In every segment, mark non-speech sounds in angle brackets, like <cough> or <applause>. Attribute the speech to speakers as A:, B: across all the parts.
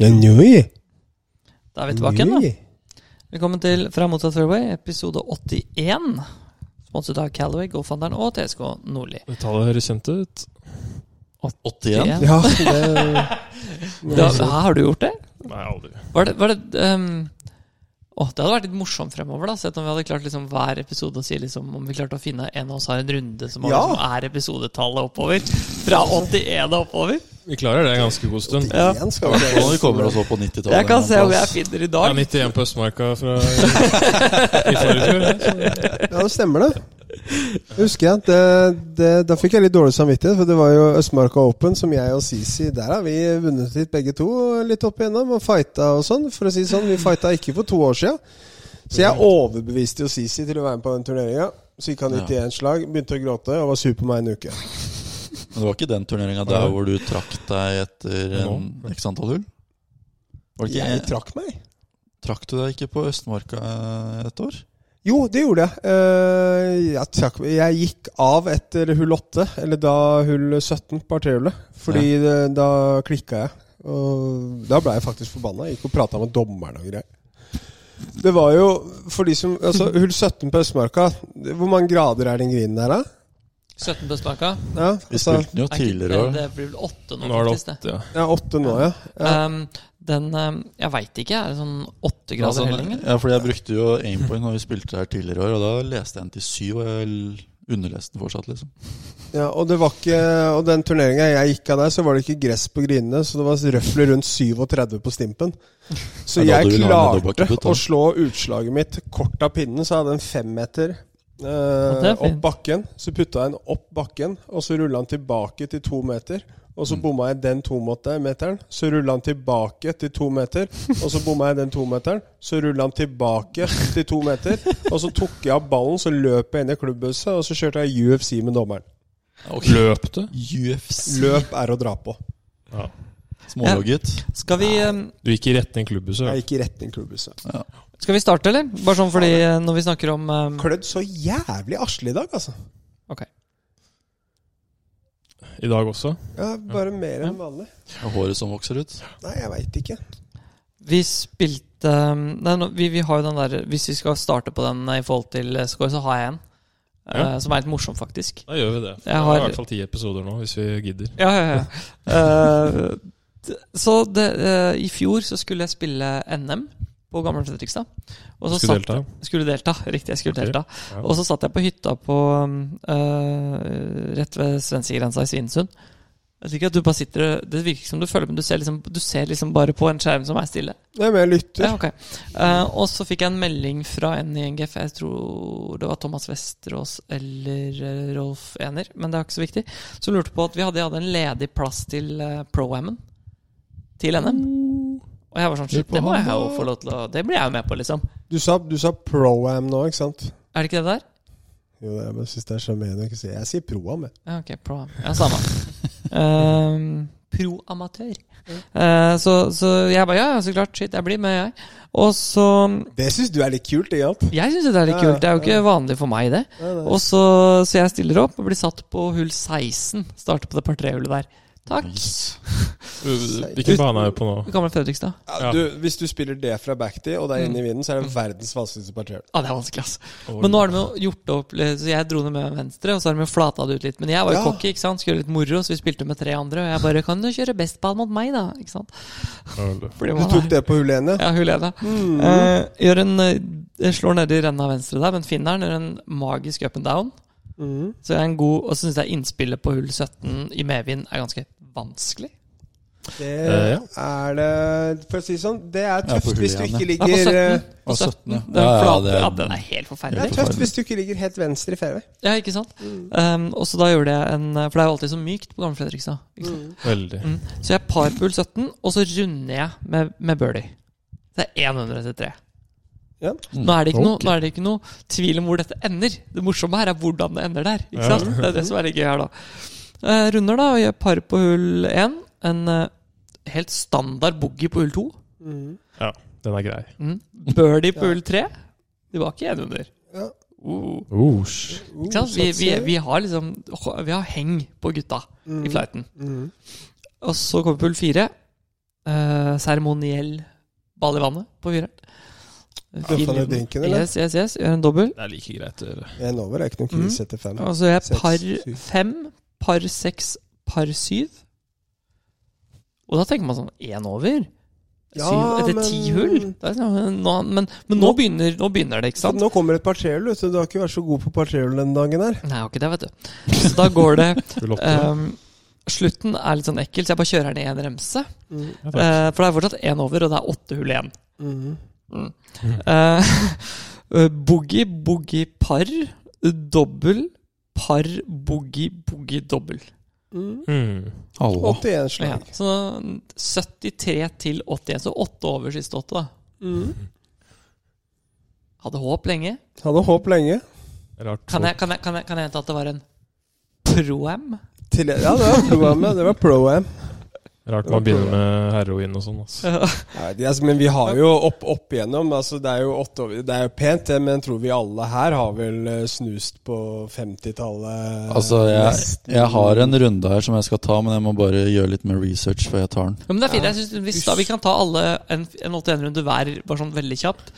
A: Ja, njøy.
B: Da er vi tilbake igjen, da.
A: Njøy.
B: Velkommen til Fra motsatt fairway, episode 81. Sponset av Calaway, Golfhandelen og TSK Nordli.
C: Tallet høres kjent ut.
B: <laughs>
D: 81?
B: Ja.
A: Ja, det
B: Da, hæ, har du gjort det?
C: Nei, aldri.
B: Var det, var det ehm, Åh, det hadde vært litt morsomt fremover, da. Sett om vi hadde klart liksom hver episode å si liksom om vi klarte å finne en av oss har en runde som har,
A: Ja.
B: liksom, er episodetallet oppover. Fra 81 og oppover.
C: Vi klarer det en ganske god stund.
B: Ja.
A: igjen skal
D: I
A: vi
D: hvert fall når vi kommer oss opp på 90-tallet.
B: Jeg kan
D: en
B: se om jeg
D: plass.
B: finner i
C: Det er
B: dag.
C: 91 på Østmarka fra i
A: <laughs>
C: forfjor. så-
A: Ja, det stemmer det. Det husker jeg. Det, det, da fikk jeg litt dårlig samvittighet, for det var jo Østmarka Open, som jeg og Sisi Der har vi vunnet litt begge to, litt opp igjennom, og fighta og sånn. For å si det sånn, vi fighta ikke for to år sia. Så jeg overbeviste jo Sisi til å være med på den turneringa. Så gikk han ut i én slag, begynte å gråte og var sur på meg en uke.
D: Men det var ikke den turneringa der hvor du trakk deg etter en x antall hull? Var det
A: Jeg
D: ikke,
A: trakk meg.
D: trakk du deg ikke på Østmarka eh, et år?
A: Jo, det gjorde jeg. Eh, jeg, trakk, jeg gikk av etter hull 8, eller da hull 17 på arterhjulet. Fordi det, da klikka jeg. Og da ble jeg faktisk forbanna. Jeg Gikk og prata med dommeren og greier. Det var jo for de som Altså, hull 17 på Østmarka det- Hvor mange grader er den grinen der, da?
B: 17 på Østmarka.
A: Ja,
D: Vi
A: altså,
D: spilte den jo
B: Er ikke-
D: tidligere
B: Det
D: òg.
B: det blir vel 8 nå,
C: Nå er det
B: faktisk. det.
C: åtte, ja.
A: ja, åtte nå, ja. ja.
B: Ehm, den ehm, Jeg veit ikke. Er det sånn åtte grader helling? eller?
D: Altså, ja, fordi jeg brukte jo aimpoint når vi spilte her tidligere i år, og da leste jeg den til syv, og jeg l- underleste den fortsatt, liksom.
A: Ja, og det var ikke Og den turneringa jeg gikk av der, så var det ikke gress på grinene, så det var røffelig rundt 37 på stimpen. Så
D: Ja, da
A: jeg
D: hadde du vel hatt med
A: klarte
D: dobbeltkutt, da.
A: å slå utslaget mitt kort av pinnen, så jeg hadde en femmeter
B: det
A: eh,
B: er
A: opp
B: fint.
A: bakken. Så putta jeg den opp bakken, og så rulla den tilbake til to meter. Og
D: Mm.
A: så bomma jeg den tometeren, så rulla han tilbake til to meter. Og så bomma jeg den tometeren, så rulla han tilbake til to meter. Og så tok jeg av ballen, så løp jeg inn i klubbhuset, og så kjørte jeg UFC med dommeren.
C: Løp du?
D: UFC.
A: Løp er å dra på.
D: Smålogget.
B: Skal vi ehm,
C: Du gikk i retning klubbhuset? ja.
A: Jeg gikk i retning klubbhuset.
B: Skal vi starte, eller? Bare sånn fordi eh, når vi snakker om ehm,
A: Klødd så jævlig Asle i dag, altså.
B: Ok.
C: I dag også?
A: Ja, Bare mer enn vanlig.
D: Og håret som vokser ut.
A: Nei, jeg veit ikke.
B: Vi spilte ehm, nei, nå- vi, vi har jo den der Hvis vi skal starte på den eh, i forhold til eh, score, så har jeg en. eh,
C: Ja.
B: Som er litt morsom, faktisk.
C: Da gjør vi det.
B: Jeg
C: Jeg
B: har-
C: har i hvert fall ti episoder nå, hvis vi gidder.
B: Ja, ja, ja. <laughs> Eh, d- så det, eh, i fjor så skulle jeg spille NM på Gamle Fredrikstad. Og så
C: Skal
B: satt-
C: du delta?
B: Skulle delta, riktig. jeg skulle
C: Ok.
B: delta
C: Ja.
B: Og så satt jeg på hytta på um, øh, rett ved svenskegrensa i Svinesund. Jeg liker at du bare sitter Det virker ikke som du følger med, du ser liksom, du ser liksom bare på en skjerm som er stille.
A: Nei, men jeg lytter.
B: Ja, ok Eh, Og så fikk jeg en melding fra en i NGF, jeg tror det var Thomas Westerås eller eh, Rolf Ener, men det er ikke så viktig, som lurte på at vi hadde, jeg hadde en ledig plass til eh, Pro-Ammen. Til NM. Og jeg var sånn
D: Lurer
B: Shit,
D: på
B: det må
D: han
B: jeg jo
D: da."
B: få lov til å Det blir jeg jo med på, liksom.
A: Du sa, du sa pro-am nå, ikke sant?
B: Er det ikke det der?
A: Jo, jeg bare syns det er sjarmerende å ikke si Jeg sier pro-am, jeg.
B: Ja, ok. Pro
A: <laughs>
B: Ja, samme. Ehm, Pro-amatør. Eh, så, så jeg bare ja, ja, så klart. Shit, jeg blir med, jeg. Og så
A: Det syns du er litt kult, ikke sant?
B: Jeg syns jo det er litt
A: Ja, ja,
B: kult. Det er jo ikke vanlig for meg, det.
A: Nei, nei.
B: Og så, så jeg stiller opp og blir satt på hull 16. Starter på det par tre-hullet der. Takk.
C: Du- Hvilken bane er vi på nå?
B: Gamle Fredrikstad.
A: Ja, du, hvis du spiller det fra backtid, og det er inne i vinden, så er det verdens vanskeligste parter.
B: Ja, det er vanskelig, ass. Men nå har de jo gjort det opp litt, Så jeg dro ned med venstre, og så har de jo flata det ut litt. Men jeg var jo
A: Ja.
B: cocky, ikke sant. Skulle gjøre litt moro, så vi spilte med tre andre. Og jeg bare Kan du kjøre bestball mot meg, da? Ikke sant. Fordi
A: Du
B: man er-
A: tok det på Mm. hull 1, ja?
B: Ja, hun leder. Eh, gjør en, eh, slår ned i renna venstre der, men finner den. Gjør en magisk up and down.
A: Mhm.
B: Så jeg er en god, Og så syns jeg innspillet på hull 17 i medvind er ganske vanskelig.
A: Det
C: Eh, ja.
A: er det For å si det sånn, det er
D: Ja, på
A: tøft
D: hull
A: hvis du
D: igjen,
A: ikke
B: Ja, på
A: ligger
B: 17.
A: eh,
B: På
D: Ja,
B: 17.
D: 17, ja.
B: Den,
D: Ja, ja,
B: flate,
D: det er-
B: ja, den er helt
A: Det
B: forferdelig.
A: er tøft hvis du ikke ligger helt venstre i fairway.
B: Ja, ikke sant? Eh, og så da gjorde jeg en For det er jo alltid så mykt på Gamle Fredrikstad. ikke sant?
C: Veldig.
B: Mm. Så jeg par på hull 17, og så runder jeg med, med birdie. Det er 100 til 3.
A: Ja.
B: Nå er, det ikke noe,
C: Ok.
B: nå er det ikke noe tvil om hvor dette ender. Det morsomme her er hvordan det ender der. Ikke
C: Ja.
B: sant? Det er det som er litt gøy her, da. Eh, runder, da, og gjør par på hull én. En eh, helt standard boogie på hull to.
A: Mhm.
C: Ja, den er grei.
B: Mm. Birdie på
A: Ja.
B: hull tre. Det var ikke en under.
A: Ja.
B: Uh,
C: Osj.
A: Uh,
B: ikke sant? Vi, vi,
A: satser.
B: vi har liksom Vi har heng på gutta
A: Mhm.
B: i flighten.
A: Mhm.
B: Og så kommer på hull fire. eh, seremoniell ball i vannet på fireren.
A: Døfta
B: Fin
A: ned
B: liten-
A: drinken, eller?
B: Yes, yes, yes. Gjør en dobbel.
C: Det er like greit å gjøre.
A: En over er ikke noen
B: Mm.
A: krise etter fem.
B: Og så gjør Altså, jeg
A: Seks,
B: par
A: syv.
B: fem, par seks, par syv. Og da tenker man sånn én over?
A: Ja,
B: syv etter
A: men-
B: ti hull? Det er sånn, nå, men men nå,
A: Nå-
B: begynner, nå begynner det, ikke
A: Så
B: sant?
A: nå kommer et par trehull, vet du. Du har ikke vært så god på par trehull den dagen her.
B: Nei, jeg har ikke det, vet du. Så da går
A: <laughs>
B: det
C: Full åtte.
B: ehm, Slutten er litt sånn ekkel, så jeg bare kjører den i en remse.
A: Mm,
C: Ja, takk.
B: Eh, for det er fortsatt én over, og det er åtte hull igjen.
A: Mhm.
B: Eh, <laughs> eh, boogie, boogie, par. Dobbel, par, boogie, boogie, dobbel.
A: Mhm.
C: Mm.
D: Hallo.
A: 81
B: Ja,
A: slag.
B: så 73 til 81, så åtte over siste åtte, da.
A: Mhm.
B: Hadde håp lenge.
A: Hadde håp lenge.
C: Rart.
B: Kan jeg, kan jeg, kan jeg, kan jeg hente at det var en pro-am?
A: Til, ja, det var pro-am. ja, Det var pro-am.
C: Rart man begynner med heroin og sånn. Altså.
A: Nei, det- altså, men vi har jo opp, opp igjennom altså, det, er jo åtte, over- det er jo pent, det, men jeg tror vi alle her har vel eh, snust på 50-tallet.
D: Altså, jeg,
A: nesten.
D: jeg har en runde her som jeg skal ta, men jeg må bare gjøre litt mer research før jeg tar den.
B: Ja, men det er fint. Jeg synes hvis da, Vi kan ta alle en, en 81-runde hver, bare sånn veldig kjapt,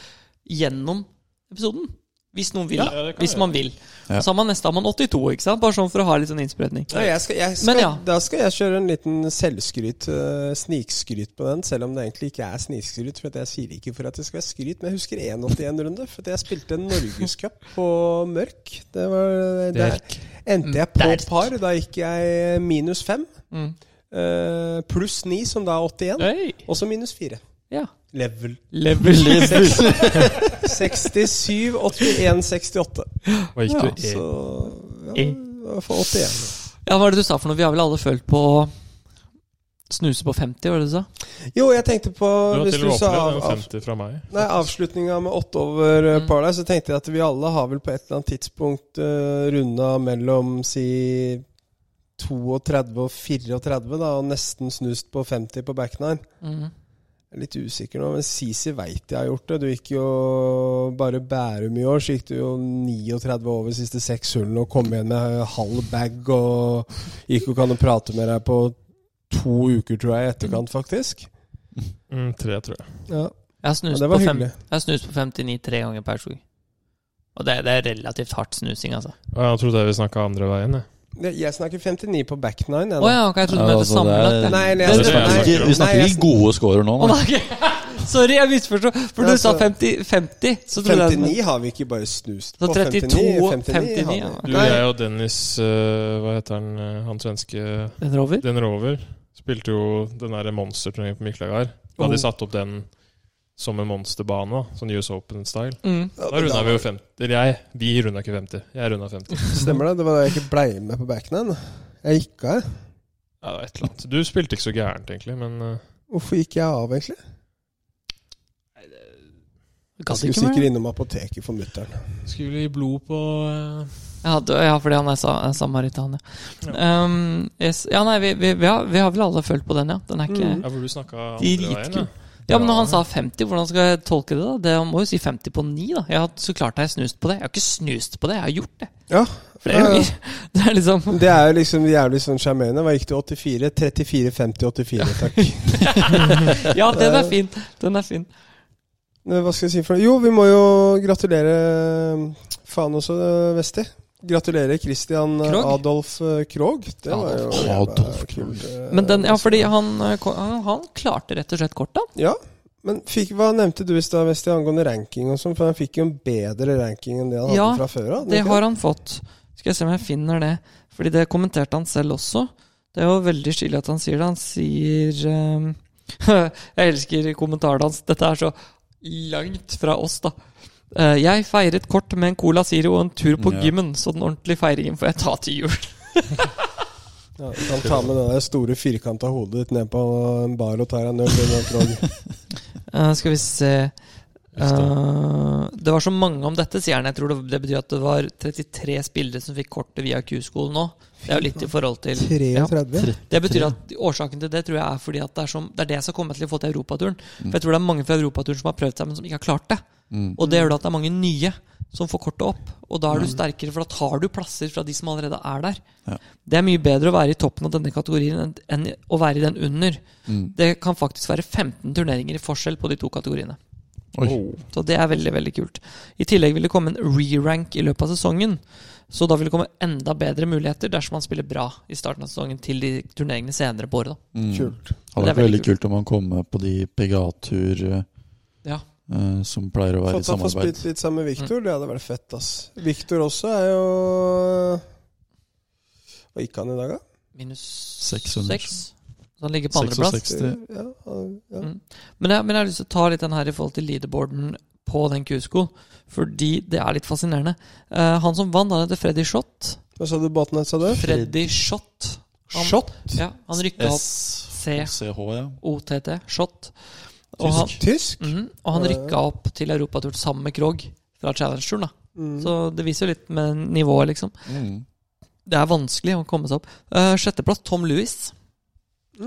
B: gjennom episoden. Hvis noen vil,
C: Ja,
B: da.
C: det kan
B: Hvis
C: vi
B: man vil.
D: Ja.
B: Så har man neste har man 82, ikke sant? Bare sånn for å ha litt sånn innsprøytning.
A: Ja, jeg skal, jeg skal,
B: Men ja.
A: Da skal jeg kjøre en liten selvskryt, eh, snikskryt på den, selv om det egentlig ikke er snikskryt. For at jeg sier ikke for at det skal være skryt, men jeg husker 81-runde. For at jeg spilte en
B: <laughs>
A: norgescup på mørk. Det var, eh, der endte jeg på
B: Derk.
A: par. Da gikk jeg minus fem.
B: Mm.
A: eh, pluss ni, som da er 81.
B: Oi.
A: Og så minus fire.
B: Ja.
A: Level
B: Level
C: <laughs>
B: is
A: 67, 81, 68.
C: Hva gikk
A: Ja,
C: du
B: Eh.
C: i?
A: så ja,
B: E.
A: For 81.
B: Ja, hva var det du sa for noe? Vi har vel alle følt på å snuse på 50, var det du sa?
A: Jo, jeg tenkte på
C: Du har
A: Hvis
C: til
A: du
C: og med
A: sa
C: opplevd
A: av,
C: en
B: altså.
A: av,
C: 50 fra meg.
A: Nei, avslutninga med åtte over eh,
B: Mm.
A: par der, så tenkte jeg at vi alle har vel på et eller annet tidspunkt eh, runda mellom si 32 og 34, da, og nesten snust på 50 på back nine.
B: Mm.
A: Jeg er litt usikker nå, men Sisi veit jeg har gjort det. Du gikk jo bare Bærum i år, så gikk du jo 39 over de siste seks hullene og kom igjen med eh, halv bag og gikk jo ikke an å prate med deg på to uker, tror jeg, i etterkant, faktisk.
C: Mm, tre, tror jeg.
A: Ja,
B: Jeg har snust,
A: Ja, det var
B: på, fem,
A: hyggelig.
B: jeg har snust på 59 tre ganger per skog. Og det, det er relativt hardt snusing, altså.
C: Å, Jeg trodde vi snakka andre veien. Jeg.
A: Jeg jeg snakker 59 på back nine, jeg
B: Å
A: nå.
B: ja, ok, jeg trodde du
D: Ja,
B: mente
D: altså, det
B: sammenlagt.
D: er-
B: jeg.
A: Nei, nei,
C: Det er
D: Vi
C: det jeg
D: snakker
C: snakker
D: ikke-
A: om.
D: vi snakker
A: Nei,
D: ikke gode scorer nå.
B: Å,
D: Nei.
B: nei, <laughs> Sorry, jeg misforsto. For
A: Ja,
B: du sa
A: så-
B: 50, 50 så trodde jeg
A: 59 har vi ikke bare snust
B: Så
A: på.
B: 32,
A: 59,
B: 59,
A: har vi.
B: ja.
C: Du,
A: Nei,
C: jeg og Dennis, eh, hva heter han, eh, han svenske
B: at Den er over?
C: Den rover spilte jo den der monsterturneringen på Miklagard. Da hadde de satt opp den som en monsterbane, da, sånn US Open-style.
B: Mm.
C: Da runda vi jo 50. Eller jeg. Vi runda ikke 50. Jeg runda 50.
A: Stemmer det. Det var da jeg ikke blei med på backnine. Jeg gikk av. jeg.
C: Ja, det var et eller annet. Du spilte ikke så gærent, egentlig, men eh,
A: Hvorfor gikk jeg av, egentlig? Jeg
B: Gadd
A: skulle
B: ikke mer.
A: sikkert innom apoteket for mutter'n.
C: Skulle gi blod på
B: Ja, du- ja, fordi han er sa, er samaritan, ja. Um, yes. Ja, nei, vi, vi, vi, har, vi har vel alle følt på den, ja. Den er ikke
A: Mm.
C: Ja, for du snakka
B: De
C: andre
B: gikk
C: veien,
B: jo.
C: ja.
B: Ja, men når han sa 50, hvordan skal jeg tolke det? da? Det han må jo si 50 på 9, da. Ja, så klart har jeg snust på det. Jeg har ikke snust på det, jeg har gjort det.
A: Ja.
B: Flere
A: Ja, ja.
B: ganger. <laughs> Det er liksom
A: Det er jo liksom jævlig sånn sjarmerende. Hva gikk du? 84? 34, 50, 84,
C: <laughs>
A: takk.
B: Ja, den er fin. Den er fin.
A: Men Hva skal jeg si for noe? Jo, vi må jo gratulere mm, faen også, Vesti. Gratulerer Christian
B: Krog?
A: Adolf eh, Krog. Det var jo
D: Adolf.
A: jævla
D: Adolf
A: kult, eh,
B: Men den, ja, fordi han, eh, ko- han, han klarte rett og slett kortet.
A: Ja, men fikk, hva nevnte du i stad, Vesti, angående ranking og sånn? For han fikk jo en bedre ranking enn det han
B: Ja,
A: hadde fra før av.
B: Det har han fått. Skal jeg se om jeg finner det. Fordi det kommenterte han selv også. Det er jo veldig stilig at han sier det. Han sier ehm, <laughs> Jeg elsker kommentaren hans. Dette er så langt fra oss, da. Eh, jeg feiret kort med en Cola Zero og en tur på
D: Ja.
B: gymmen, så den ordentlige feiringen får jeg ta til jul.
A: Ja, du kan ta med det der store firkanta hodet ditt ned på en bar og ta deg en øl. under en
D: <laughs>
A: krog.
B: Eh, skal vi se Eh, Det var så mange om dette, sier han. Jeg tror det, det betyr at det var 33 spillere som fikk kortet via Q-skolen nå. Det er jo litt i forhold til Ja.
A: 33.
B: Det betyr at Årsaken til det tror jeg er fordi at det er, som, det er det som kommer til å få til europaturen. For jeg tror det er mange fra europaturen som har prøvd seg, men som ikke har klart det.
D: Mm.
B: Og det gjør det at det er mange nye som får kortet opp. Og da er du sterkere, for da tar du plasser fra de som allerede er der.
D: Ja.
B: Det er mye bedre å være i toppen av denne kategorien enn- enn å være i den under.
D: Mm.
B: Det kan faktisk være 15 turneringer i forskjell på de to kategoriene.
D: Oi.
B: Så det er veldig, veldig kult. I tillegg vil det komme en re-rank i løpet av sesongen. Så da vil det komme enda bedre muligheter dersom man spiller bra i starten av sesongen til de turneringene senere på året. Da.
D: Mm.
A: Kult.
D: Hadde
B: Det er
D: vært
B: veldig
D: veldig kult om han kom med på de PGA-tur
B: Ja.
D: eh, som pleier å være i
A: Fått han få
D: samarbeid.
A: spilt litt sammen med
B: Mm.
A: Viktor, det hadde vært fett, ass. Viktor også er jo øh, Hva gikk han i dag, da?
B: Minus
D: 600.
B: 6. Så han ligger på andreplass.
D: 66. 60.
A: Ja, han- ja.
B: Mm. Men jeg, men jeg har lyst til å ta litt den her i forhold til leaderboarden på den Q-school, fordi det er litt fascinerende. Eh, han som vant, han heter Freddy Shot.
A: Hva sa du båten het, sa du?
B: Freddy Shot. Han,
A: Shot?
B: Ja, han rykka opp C.
D: CH, ja.
B: OTT. Shot. Og han,
D: Tysk.
A: Tysk?
B: mhm, og han rykka opp til Europaturen sammen med Krog fra Challengeturen. da.
A: Mm.
B: Så det viser jo litt med nivået, liksom.
D: Mm.
B: Det er vanskelig å komme seg opp. Eh, sjetteplass Tom Lewis.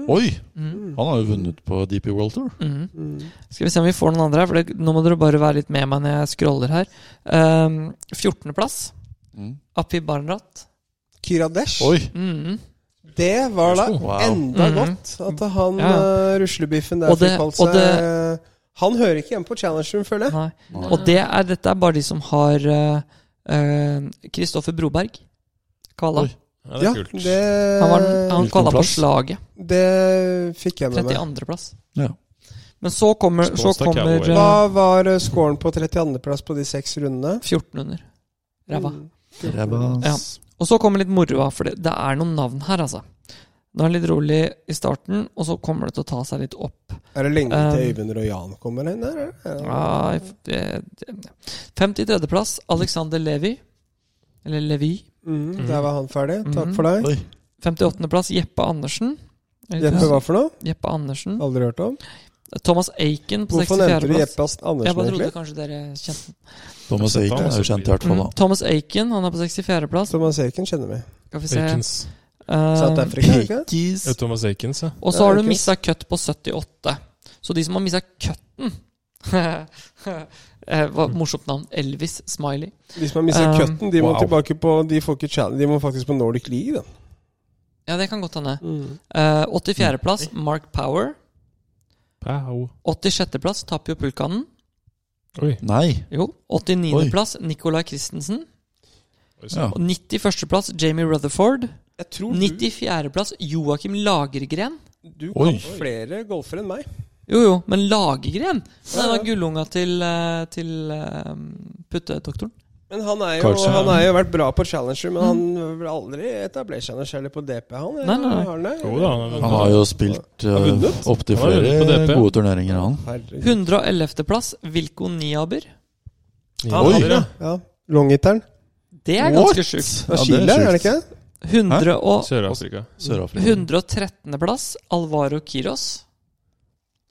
D: Oi!
B: Mhm.
D: Han har jo vunnet på DP World Tour.
B: Mhm.
A: Mm.
B: Skal vi se om vi får noen andre her, for det, nå må dere bare være litt med meg når jeg scroller her. Um, 14.-plass,
D: Mm.
B: Api Barnrat.
A: Kiradesh.
D: Oi!
B: Mhm.
A: Det var da
D: Wow.
A: enda
B: Mhm.
A: godt at han
B: Ja.
A: eh, ruslebiffen der
B: Og det-
A: fikk kalt
B: og
A: seg Han hører ikke hjemme på Challengeren, føler jeg.
B: Nei.
D: Nei.
B: Og det er, dette er bare de som har eh, Kristoffer Broberg. Kvala.
D: Oi.
C: Ja, det
A: Ja,
C: er kult.
A: det,
B: Han, var, den- han
D: Hvilken
B: kvala på
D: plass?
B: slaget.
A: det fikk jeg med meg.
B: 32.-plass.
D: Ja.
B: Men så kommer, så
C: Skålstad
B: kommer
C: cowboy.
B: eh,
A: Hva var eh, scoren på 32.-plass på de seks rundene?
B: 14 under. Ræva.
A: Mm.
B: Ja. Og så kommer litt moroa, for det, det er noen navn her, altså. Nå er det litt rolig i starten, og så kommer det til å ta seg litt opp.
A: Er det lenge til
B: Um,
A: Øyvind Royan kommer inn der? eller?
B: Ja, det, det. 53. plass, Alexander Levi. Eller Levi.
A: Mm, der var han ferdig. Takk
B: Mhm.
A: for deg.
D: Oi.
B: 58. plass, Jeppe Andersen. Er det
A: Jeppe
B: det?
A: hva for noe?
B: Jeppe Andersen.
A: Aldri hørt om.
B: Thomas Aiken på
A: Hvorfor
B: 64.
A: nevnte du
B: Mm. plass.
A: Jeppe Ast-
B: Jeg
A: Andersen,
B: bare trodde
A: egentlig?
B: kanskje dere kjente
D: Thomas
C: Jeg har sett
D: Eiken
C: han,
D: er jo
C: altså.
D: kjent i hvert fall,
B: mm,
D: da.
B: Thomas Aiken, han er på 64. plass.
A: Thomas Aiken kjenner vi.
B: Skal vi se
C: Akins.
B: Eh,
A: South-Afrika, er det ikke? det?
D: Keys.
C: Ja, Thomas Akins, ja.
B: Og så har
A: Ja,
B: du
A: ok.
B: missa cut på 78. Så de som har missa cutten <laughs> Eh, hva- Morsomt navn. Elvis Smiley.
A: De som har mista
B: Um,
A: cutten, de må
D: wow.
A: tilbake på De får ikke challenge, de må faktisk på Nordic League, da.
B: Ja, det kan godt hende.
A: Mm.
B: Eh, 84. plass, Mark Power.
C: Pow.
B: 86. plass, Tapio Pulkanen.
C: Oi.
D: Nei.
B: Jo. 89.
D: Oi.
B: plass, Nicolai Christensen.
C: Oi,
D: Ja.
C: sant.
B: Og 91. plass, Jamie Rutherford.
A: Jeg tror
B: 94. plass, Joakim Lagergren.
A: du, du
D: Oi.
A: kan flere golfere enn meg.
B: Jo, jo, men Lagergren! Det er
A: Ja,
B: da
A: ja.
B: gullunga til, eh, til eh, puttedoktoren.
A: Men han er jo,
D: Carlsen, ja.
A: han er jo vært bra på Challenger, men han vil aldri etablere seg noe særlig på DP, han. eller
B: Mm. Nei, nei, nei.
A: Har han det?
C: Jo da, han har
D: Han har jo spilt
A: har
D: uh,
A: vunnet.
D: opptil
C: Han har
D: flere
C: vunnet på DP.
D: gode turneringer, han.
A: Herregud.
B: 111. plass, Vilko Niaber.
A: Han
C: Oi.
A: hadde det. Ja. Longhitteren.
B: Det er ganske sjukt.
A: Fra Chile, er det ikke? det?
B: 100 og-
C: Sør-Afrika.
D: Sør-Afrika.
B: 113. plass, Alvaro Kiros.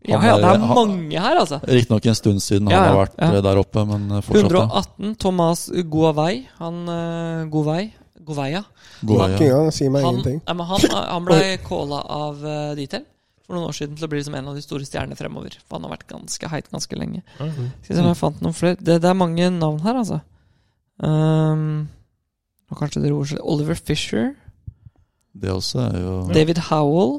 B: Ja,
D: Han
B: ja,
D: er-
B: det er
D: han-
B: mange her, altså.
D: Riktignok en stund siden
B: Ja,
D: han har
B: ja,
D: vært eh, der oppe, men eh, fortsatt. ja.
B: 118, Thomas Guavei. Han uh, Guavei. Guveia.
D: God
A: Ikke
D: vei, ja.
A: engang sier meg
B: Han,
A: ingenting.
B: ja, men han, eh, han ble calla av eh, Detail for noen år siden til å bli liksom en av de store stjernene fremover. For han har vært ganske heit ganske lenge.
C: Mhm.
B: Skal vi se om jeg fant noen flere. Det, det er mange navn her, altså. Um, og kanskje dere ordskiller Oliver Fisher.
D: Det også er jo
B: David Howell.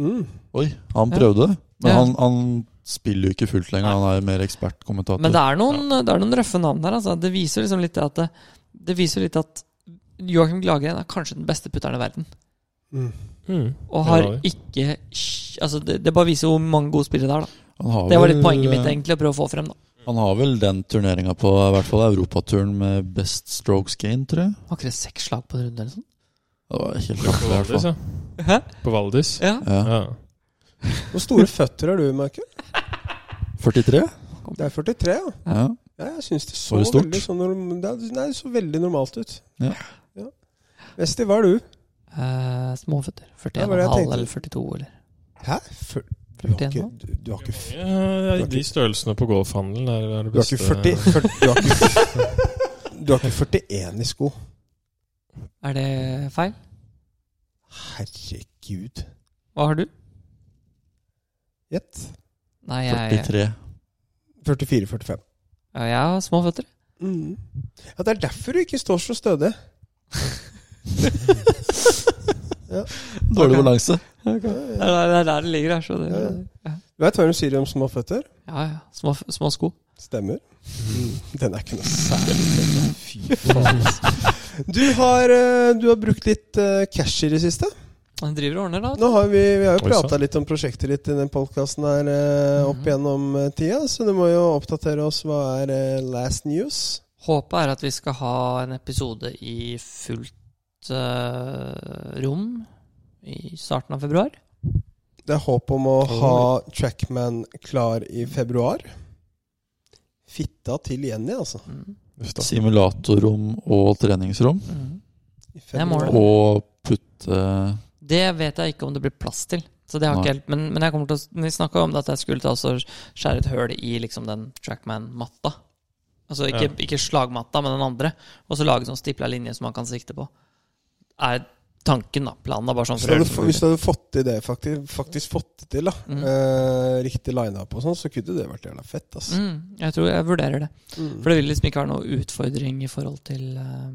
A: Mm.
D: Oi, han
B: Ja.
D: prøvde. Men
B: Ja.
D: han, han spiller jo ikke fullt lenger. Han er jo mer ekspertkommentator.
B: Men det er noen, det er noen røffe navn her. Altså. Det viser liksom litt det at det, det viser litt at Joakim Glagren er kanskje den beste putteren i verden.
A: Mm.
C: Mhm.
B: Og har
C: Ja, det
B: ikke Altså, det, det bare viser hvor mange gode spillere det er, da.
D: han har
B: Det var
D: vel,
B: litt poenget mitt,
D: eh,
B: egentlig, å prøve å få frem, da.
D: Han har vel den turneringa på i hvert fall europaturen med best strokes gain, tror jeg.
B: Har ikke dere seks slag på en runde, eller sånn?
D: Det var helt
C: På
D: rått, i hvert
C: Valdres,
D: fall.
C: ja.
B: Hæ?
C: På Valdres.
B: Ja.
D: Ja.
C: Ja.
A: Hvor store føtter har du, Michael?
D: 43?
A: Det er 43, ja.
D: Ja.
A: Ja, jeg syns det så
D: Var det stort?
A: veldig, sånn norm- det er- nei, det så veldig normalt ut.
D: Ja.
A: Ja. Vesti, hva er du?
B: Eh, småføtter.
A: Ja, men jeg
B: 41,5
A: tenkte-
B: eller 42 eller
A: Hæ? Fyr- Du har
B: 41
A: ikke,
B: nå?
A: du, du har ikke, f-
C: Ja, ja, eh, de størrelsene på golfhandelen er, er det
A: du har ikke
C: beste.
A: 40, 40 du, har ikke,
C: <laughs>
A: f- du har ikke 41 i sko.
B: Er det feil?
A: Herregud.
B: Hva har du?
A: Gjett.
B: Nei, jeg
D: 43.
A: 44-45.
B: Ja, jeg har små føtter.
A: Mm. Ja, det er derfor du ikke står så stødig.
D: Dårlig balanse.
B: Det er der det, er der det ligger. her, Så det,
A: Ja,
B: ja,
A: ja.
B: ja.
A: Du vet hva de sier om små føtter?
B: ja. Små, f- små sko.
A: Stemmer. Den er ikke noe særlig. Fy faen. Du har, eh, du har brukt litt eh, cash i det siste.
B: Han driver og ordner, da.
A: Nå har vi, vi har jo
C: Oi, sann.
A: prata litt om prosjektet ditt i den podkasten her eh, opp
B: Mhm.
A: gjennom eh, tida, så du må jo oppdatere oss. Hva er eh, last news?
B: Håpet er at vi skal ha en episode i fullt eh, rom i starten av februar.
A: Det er håp om å ha Trackman klar i februar. Fitta til Jenny, altså.
B: Mm.
C: Uff da.
D: Simulatorrom og treningsrom.
B: Mm.
A: I
B: Det er målet.
D: Og putte
B: Det vet jeg ikke om det blir plass til. Så det har ikke
D: Nei.
B: helt, men, men jeg kommer til å, vi snakka om det at jeg skulle ta også skjære et høl i liksom den Trackman-matta. Altså ikke,
C: Ja.
B: ikke slagmatta, men den andre. Og så lage sånn stipla linje som man kan sikte på. Er tanken, da. Planen er bare sånn
A: Hvis
B: for
A: du
B: å
A: hadde, få- hvis du hadde fått til det, faktisk, faktisk fått det til, da,
B: Mhm.
A: eh, riktig line-up og sånn, så kunne det vært jævla fett, altså.
B: mm, Jeg tror jeg vurderer det.
A: Mm.
B: For det vil liksom ikke være noe utfordring i forhold til eh,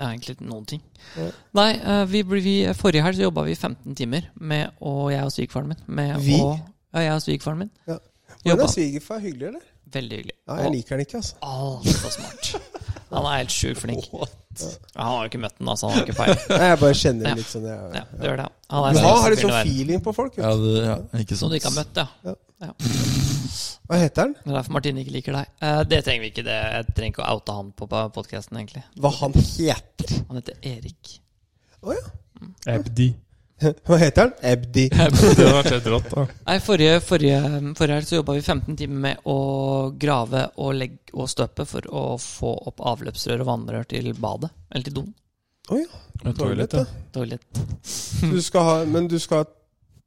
B: ja, egentlig noen ting.
A: Ja.
B: Nei, eh, vi, blir- vi, forrige helg så jobba vi 15 timer, med, og jeg og svigerfaren min. Med
A: Vi?
B: Å, ja, jeg og svigerfaren min.
A: Ja. Men
B: Jobba
A: er svigerfar hyggelig, eller?
B: veldig hyggelig.
A: Ja, jeg liker han ikke, altså.
B: og altfor smart. Han er helt sjukt flink. Ja, han har jo ikke møtt den, altså. Han har ikke peiling.
A: Nei, jeg bare kjenner
B: Ja.
A: det litt sånn. Jeg,
B: Ja, det gjør det. ja. Han
A: Du
B: er
A: har litt
B: sånn
A: sånn feeling på folk.
D: Ja,
A: Vet.
D: det, ja,
B: som
D: ikke sant.
B: du ikke har møtt, ja.
A: du. Hva heter han?
B: Det er derfor Martine ikke liker deg. Eh, det trenger vi ikke. det Jeg trenger ikke å oute han på podkasten, egentlig.
A: Hva han heter?
B: Han heter Erik.
C: Abdi.
A: Hva heter han? Ebdi.
B: <laughs>
C: Det hadde vært helt rått, da.
B: Nei, forrige, forrige, forrige helg så jobba vi 15 timer med å grave og legge og støpe for å få opp avløpsrør og vannrør til badet. Eller til doen.
C: Et toalett, ja.
B: Toalett.
A: Du skal ha, men du skal ha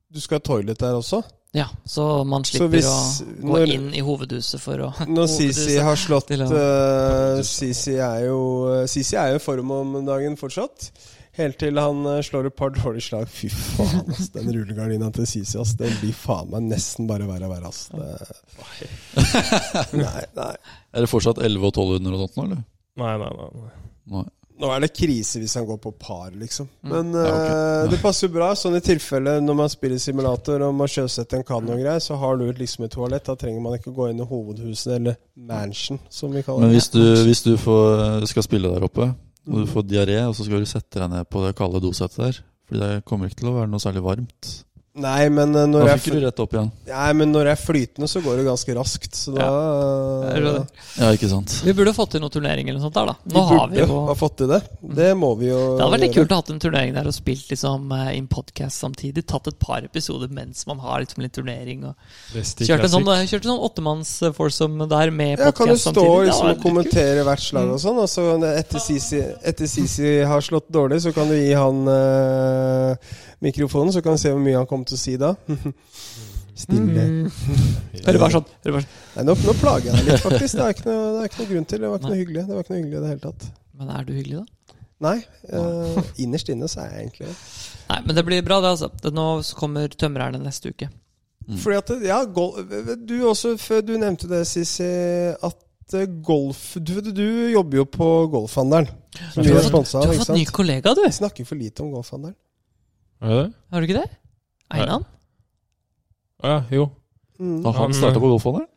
A: du skal ha toilet der også?
B: Ja, så man
A: Så
B: slipper
A: hvis-
B: å gå
A: når-
B: inn i hovedhuset for å
A: Når Sisi har slått
B: Til å-
A: eh, Sisi er jo eh, Sisi er jo i form om dagen fortsatt. Helt til han eh, slår et par dårlige slag. Fy faen, ass. Den rullegardina til Sisi, ass. Den blir faen meg nesten bare verre og verre, ass. Det... Nei, nei.
D: Er det fortsatt 11 og 1200 og sånt nå, eller?
C: Nei, nei, nei. nei.
D: Nei.
A: Nå er det krise hvis han går på par, liksom.
B: Mm.
A: Men
D: Ja, ok.
A: eh, det passer jo bra. Sånn i tilfelle når man spiller simulator og må sjøsette en kano og greier, så har du et liksom et toalett. Da trenger man ikke gå inn i hovedhuset, eller mansion, som vi kaller
D: Men
A: det.
D: hvis du, hvis du får, skal spille der oppe, og du får diaré, og så skal du sette deg ned på det kalde dosettet der Fordi det kommer ikke til å være noe særlig varmt.
A: Nei, men eh,
D: Da
A: når jeg,
D: fikk du rett opp igjen.
A: fly- Nei, men når jeg er flytende, så går det ganske raskt. Så da eh,
B: Jeg skjønner.
D: Ja, ikke sant.
B: Vi burde fått til noen turnering eller noe sånt der, da.
A: Vi
B: Nå har vi
A: burde
B: jo
A: ha fått til det. Det må vi jo
B: Det hadde vært litt
A: gjøre.
B: kult å ha hatt en turnering der og spilt liksom eh, in podcast samtidig. Tatt et par episoder mens man har liksom litt turnering. Og
C: Resti
B: kjørt en
C: classic.
B: sånn, eh, kjørt en sånn åttemanns-foursome der med
A: Ja, kan du
B: podcast
A: stå
B: samtidig.
A: liksom, og
B: Det hadde vært litt kult.
A: kommentere hvert slag og sånn? Og så etter Sisi, etter Sisi har slått dårlig, så kan du gi han eh, mikrofonen, så kan vi se hvor mye han kommer til å si da. <laughs> Stille.
B: Mm. Hører bare sånn. Hører bare sånn.
A: Nei, nå, nå plager jeg deg litt, faktisk. Det er, ikke noe, det er ikke noe grunn til. Det var ikke noe hyggelig. Det var ikke noe hyggelig i det hele tatt.
B: Men er du hyggelig, da?
A: Nei. eh, innerst inne så er jeg egentlig det.
B: Nei, men det blir bra, det, altså. Det- Nå kommer tømrerne neste uke. Mm.
A: Fordi at, det- ja, gol du også, før du nevnte det, Sisi, at eh, golf Du, du jobber jo på Golfhandelen. Som
B: Du
A: vi er
B: har fått,
A: sponsa
B: du
A: av,
B: har
A: ikke
B: fått ny
A: sant?
B: kollega, du.
A: Vi snakker for lite om Golfhandelen.
C: Er det det?
B: Har du ikke det?
C: Nei.
B: Einan?
C: Å ja, jo.
A: Mm.
D: Har han starta på golfhandelen?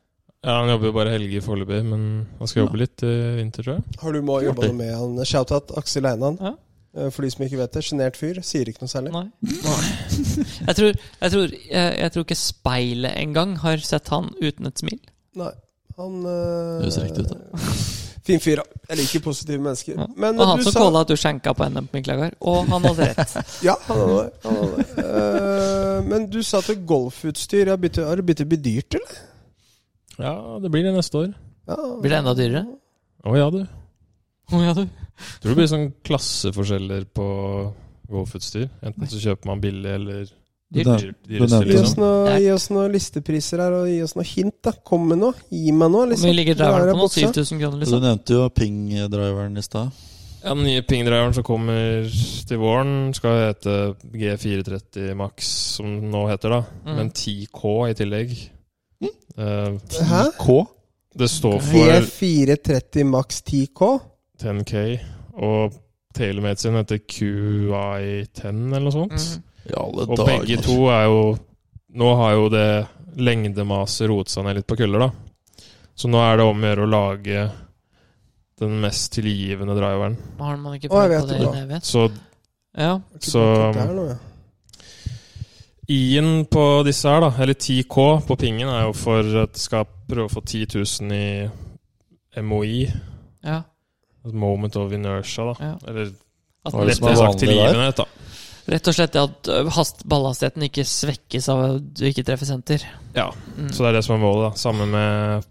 C: Ja, Han jobber jo bare helger foreløpig, men han skal jobbe litt i vinter, tror jeg.
A: Har du må jobba noe med han? Shout-out Aksel Einan.
B: Ja.
A: Eh, For de som ikke vet det. Sjenert fyr. Sier ikke noe særlig.
B: Nei. Jeg tror, jeg, tror, jeg, jeg tror ikke speilet engang har sett han uten et smil.
A: Nei. Han eh,
D: Det høres riktig ut, da.
A: <laughs> Fin fyr, da. Jeg liker positive mennesker.
B: Ja.
A: Men
B: Og han
A: du
B: som
A: sa
B: kåla at du skjenka på NM på Miklagard. Og han hadde rett.
A: <laughs> Ja, han hadde det. Han hadde det. Eh, men du sa til golfutstyr ja, bytte, Har det begynt å bli dyrt, eller?
C: Ja, det blir det neste år.
A: Ja.
B: Blir det enda dyrere?
C: Å ja, du.
B: Å ja, du.
C: Tror det blir sånn klasseforskjeller på golfutstyr. Enten så kjøper man billig eller
B: Dyrt.
D: Det-
C: dyr- dyreste,
D: nevnte
A: Gi oss,
C: liksom.
A: noe, gi oss noen listepriser her, og gi oss noe hint. da Kom med noe. Gi meg noe.
B: Hvor mye
A: Liksom.
B: ligger
A: Det er
B: driveren
A: en
B: på nå?
A: bokse.
B: 7000 kroner,
D: Du
B: liksom?
D: nevnte jo ping-driveren i stad.
C: Ja, Den nye pingdriveren som kommer til våren, skal hete G430 Max, som den nå heter, da.
B: Mm.
C: Men 10K i tillegg. Eh,
A: Hæ?
D: K?
C: Det står for
A: V430 maks 10K.
C: 10K, og TaylorMade sin heter QI10 eller noe sånt.
B: Mhm.
D: I alle
C: Og
D: dager.
C: begge to er jo Nå har jo det lengdemaset roet seg ned litt på køller, da. Så nå er det om å gjøre å lage den mest tilgivende driveren.
B: Nå har man ikke
A: Å, jeg
B: prøvd
A: vet
B: på det
A: det
B: i
A: bra.
B: en evighet.
C: Så
B: Ja.
C: Så- I-en på disse her, da, eller 10K på pingen, er jo for at det skal prøve å få 10 000 i MOI.
B: ja.
C: altså Moment of inertia, da.
B: Ja.
C: Eller
B: At
D: Hva er det som
B: rett,
C: lettere
D: er
C: sagt
D: vanlig der?
C: tilgivenhet, da.
B: rett og slett det at ø, hast, ballhastigheten ikke svekkes av at du ikke treffer senter.
C: Ja,
B: Mm.
C: Så det er det som er målet, da. Samme med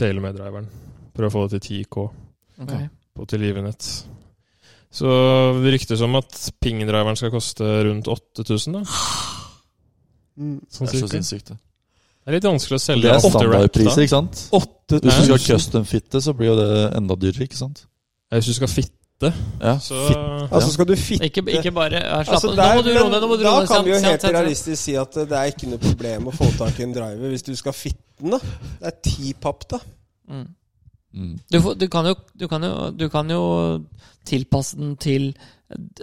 C: TaylorMade-driveren. Prøve å få det til 10K
B: Ok.
D: Ja.
C: på tilgivenhet. Så det ryktes om at pingdriveren skal koste rundt 8000, da. Sånn
A: Mm.
D: Det er så
C: cirka.
D: sinnssykt. det.
C: Det er litt vanskelig å selge
D: Det er
C: off the rack, da.
D: standardpriser, ikke sant? Hvis du skal custom fitte, så blir jo det enda dyrere, ikke sant?
C: Ja, Hvis du skal fitte,
D: Ja,
C: så
D: fitte.
A: Altså, skal du fitte
B: Ikke, ikke bare ja, Slapp
A: Altså,
B: av.
A: der-
B: Nå må du roe deg. Nå må du
A: da
B: roe deg.
A: kan vi jo
B: Sant,
A: helt
B: sant, sant, sant.
A: realistisk si at eh, det er ikke noe problem å få tak i en driver hvis du skal fitte den. da Det er ti papp, da.
B: Mm.
D: Mm.
B: Du, får- du, kan jo, du, kan jo, du kan jo tilpasse den til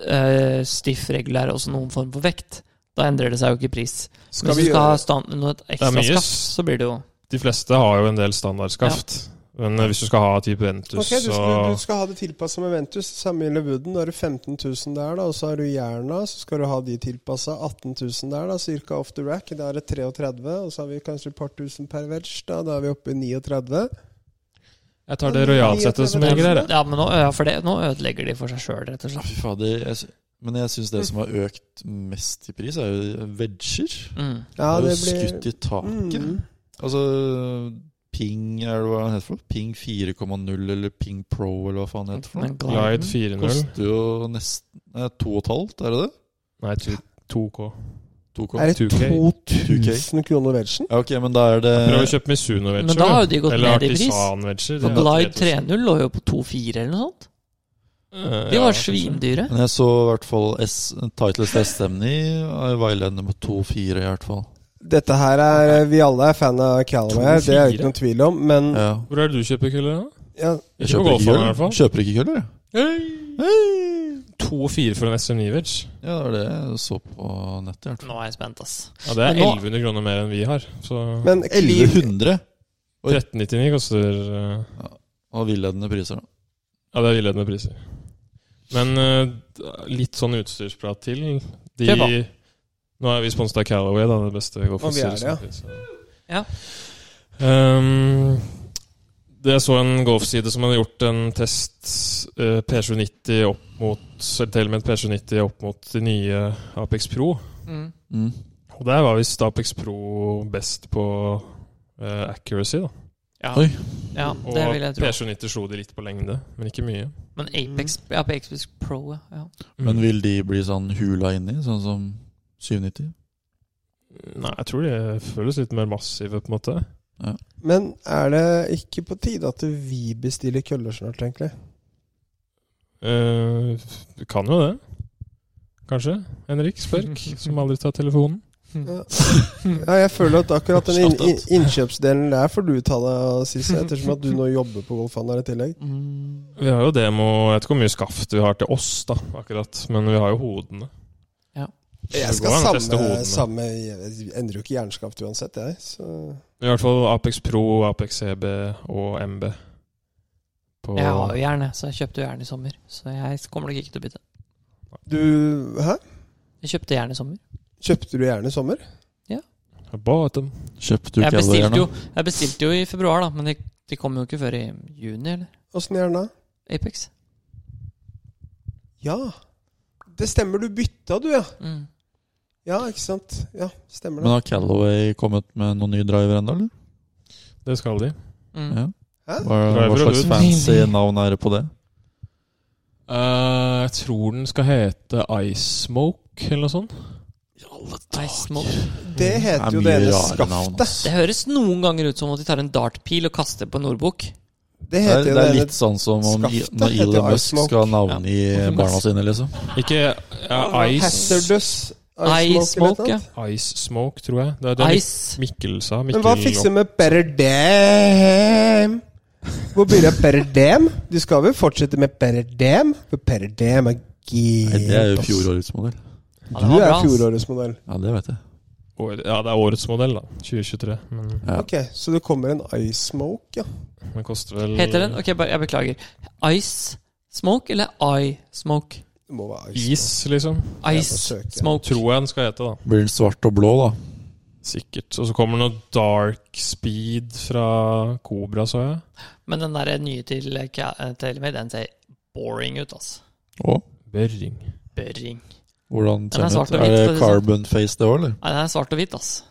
B: uh, stiff regulær, også noen form for vekt. Da endrer det seg jo ikke pris. Men
A: Skal
B: Hvis du
A: vi
B: skal ha
A: gjøre
B: stand, noe et
C: er
B: ekstra
C: mye
B: skaft,
C: s-
B: så blir det jo
C: De fleste har jo en del standardskaft. Men eh, hvis du skal ha type Ventus
A: Ok, du skal,
C: og
A: du skal ha det tilpassa med Ventus. Samme gjelder Wooden. Da har du 15 000 der, da. Og så har du Jerna, så skal du ha de tilpassa. 18 000 der, da. Cirka off the rack. Da er det 33. Og så har vi kanskje et par tusen per wedge. Da Da er vi oppe i 39.
C: Jeg tar det rojalsettet som ligger der, jeg.
B: Ja, men nå, ja, for det, nå ødelegger de for seg sjøl, rett og
D: Ja,
B: slett.
D: fy fader. Jeg, sy- men jeg syns det som har økt mest i pris, er jo wedger.
B: Mm.
A: Ja,
D: det er
A: det
D: jo
A: blir
D: skutt i taket.
A: Mm.
D: Altså Ping er det hva den heter for? noe? Ping 4,0 eller Ping Pro eller hva faen det heter for noe?
B: Men gliden-
C: Glide 4.0.
D: Koster jo nesten nei, 2,5, er det det?
C: Nei, ty- 2K.
D: Eh, 2,5.
A: Er det
C: 2K?
A: 2000 kroner wedgen?
D: Ja, ok, men da er det
C: Prøv å kjøpe Mizuno-vetsjer.
B: Men da har jo de gått
C: Eller
B: ned i pris.
C: Artisan-vetsjer.
B: For Glide 3.0 lå jo på 2,4 eller noe sånt. De var svindyre.
D: Men jeg så i hvert fall S, Titles SM9 er veileder med 2,4 i hvert fall.
A: Dette her er eh, Vi alle er fan av Calaway, det er jo ikke noen tvil om, men
D: Ja.
C: Hvor er det du kjøper køller, da?
A: ja,
C: Ikke på
D: Jeg kjøper ikke
C: golfbanen, i hvert
D: køller.
C: fall.
D: Kjøper ikke køller, jeg.
C: To og fire for en SM9-vetsj?
D: Ja, det var det jeg så på nettet. i hvert fall.
B: Nå er jeg spent, ass.
C: Ja, det er
B: Men nå-
C: 1100 kroner mer enn vi har. Så
A: men Cleave
D: 1100 Oi.
C: 1399 koster eh,
D: av villedende priser, da.
C: Ja, det er villedende priser. Men eh, litt sånn utstyrsprat til. De
B: Kjør på.
C: Nå er vi sponset av Calaway, da. Det beste
A: Og vi er
C: golfutstyret.
A: det, ja.
C: som finnes.
B: Ja.
C: Ehm, det jeg så en golfside som hadde gjort en test eh, P790 opp mot Telemed P790 opp mot de nye Apex Pro.
B: Mm.
D: Mm.
C: Og der var visst Apex Pro best på eh, accuracy, da.
B: Ja.
D: Oi.
B: ja,
C: Og
B: det vil jeg tro.
C: P790 slo de litt på lengde, men ikke mye.
B: Men Apex, ja, på Apex Pro, ja. ja.
C: Mm.
D: Men vil de bli sånn hula inni, sånn som 790?
C: Nei, jeg tror de føles litt mer massive, på en måte.
A: Men er det ikke på tide at vi bestiller køller snart, egentlig?
C: Eh, Du kan jo det. Kanskje. Henrik Spørk, som aldri tar telefonen.
A: Ja, jeg føler at akkurat den inn- inn- innkjøpsdelen der får du ta deg av, Sisse, ettersom at du nå jobber på Golfhandler i tillegg.
B: Mm.
C: Vi har jo demo Jeg vet ikke hvor mye skaft vi har til oss, da, akkurat. Men vi har jo hodene.
A: Jeg
C: Det går
A: skal
C: an å teste
A: samme,
C: hodene.
A: samme Jeg endrer jo ikke jernskaft uansett, jeg. Så
C: I hvert fall Apex Pro, Apex CB og MB. På
B: Jeg har jo jern, jeg, så jeg kjøpte jo jern i sommer. Så jeg kommer nok ikke til å bytte.
A: du Hæ?
B: Jeg kjøpte jern i sommer.
A: Kjøpte du jern i sommer?
C: Bought them.
D: Kjøpte du
B: Jeg
D: ikke alle
B: bestilte,
D: gjerne?
B: jo, jeg bestilte jo i februar, da, men de, de kom jo ikke før i juni, eller?
A: Åssen jern da?
B: Apex.
A: Ja. Det stemmer, du bytta, du, ja.
B: Mm.
A: Ja, ikke sant. Ja, stemmer
D: Men
A: det.
D: har Callaway kommet med noen ny driver ennå, eller?
C: Det skal de.
B: Mm.
D: Ja.
A: Hæ?
D: Hva, hva
C: Driver og
D: slags
C: lud.
D: fancy navn er det på det?
C: Eh, jeg tror den skal hete Ice Smoke, eller noe sånt.
B: Ice Smoke.
A: Det heter jo det ene skaftet.
B: Det høres noen ganger ut som at de tar en dartpil og kaster på Nordbukk.
A: Det
D: Det er,
A: heter jo
D: det
A: det
D: er
A: ene
D: litt sånn som om I-
A: skaftet
D: når
A: heter
D: Elon
A: Ice
D: Musk
A: Smoke.
D: skal ha navn i barna sine, liksom.
C: Ikke ja, Ice
A: Hazardous
B: Ice Smoke,
A: eller
B: ja.
A: noe.
C: Ice Smoke, tror jeg. Det er det
B: Ice.
C: Mikkel sa. Mikkel
A: Men hva fikser med Better Dam? Hvor blir det av Better Dam? Du skal vel fortsette med Better Dam? For Better Dam er
D: Nei,
A: gitt.
D: det er jo
A: ass.
D: fjorårets modell.
B: Ja, det
A: Du
B: var
A: er
B: bra, ass.
A: fjorårets modell.
D: Ja, det vet jeg.
C: År- Ja, det er årets modell, da. 2023. Men
D: Ja.
A: Ok, Så det kommer en Ice Smoke, ja.
C: den koster vel
B: Heter den? Ok, bare, jeg beklager. Ice Smoke eller Eye Smoke?
A: Det må være Ice.
C: Is, liksom.
B: Ice
A: Jeg må søke.
B: Smoke.
C: Tror jeg den skal hete, da.
D: Blir den svart og blå, da?
C: Sikkert. Og så kommer det noe Dark Speed fra Cobra, så jeg.
B: Men den der nye til eh, Ca- eh, Telemy, den ser boring ut, altså.
D: Og
C: Børring.
B: Børring.
D: hvordan
B: Den er
D: ser den
B: svart
D: ut?
B: og
D: Er
B: hvit, for å
D: det
B: si det sånn.
D: carbon face, det òg, eller?
B: Nei, den er svart og hvit, ass.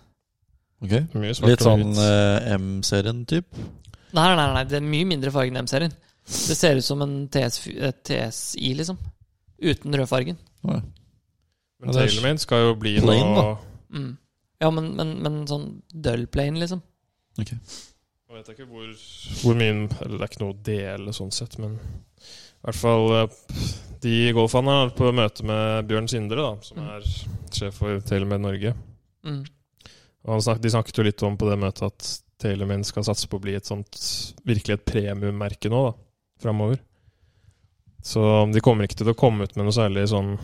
D: Ok.
C: Mye svart
D: Litt
C: og
D: sånn
C: hvitt.
D: eh, M-serien, typ?
B: Nei, nei, nei, nei, det er mye mindre farge enn M-serien. Det ser ut som en TS, eh, TSI, liksom. Uten rødfargen.
D: Ja.
C: Men
D: Ja, det er
C: Tailormade skal jo bli noe
D: plain, da.
B: Mm. Ja, men, men, men sånn dull plane, liksom.
D: Ok.
C: Jeg vet ikke hvor, hvor mye Eller det er ikke noe å dele sånn sett, men i hvert fall eh, de golfene er på møte med Bjørn Sindre, da, som
B: Mm.
C: er sjef for Tailormade Norge.
B: Mm.
C: Og han snak, de snakket jo litt om på det møtet at Tailormade skal satse på å bli et sånt virkelig et premiummerke nå, da, framover. Så de kommer ikke til å komme ut med noe særlig sånn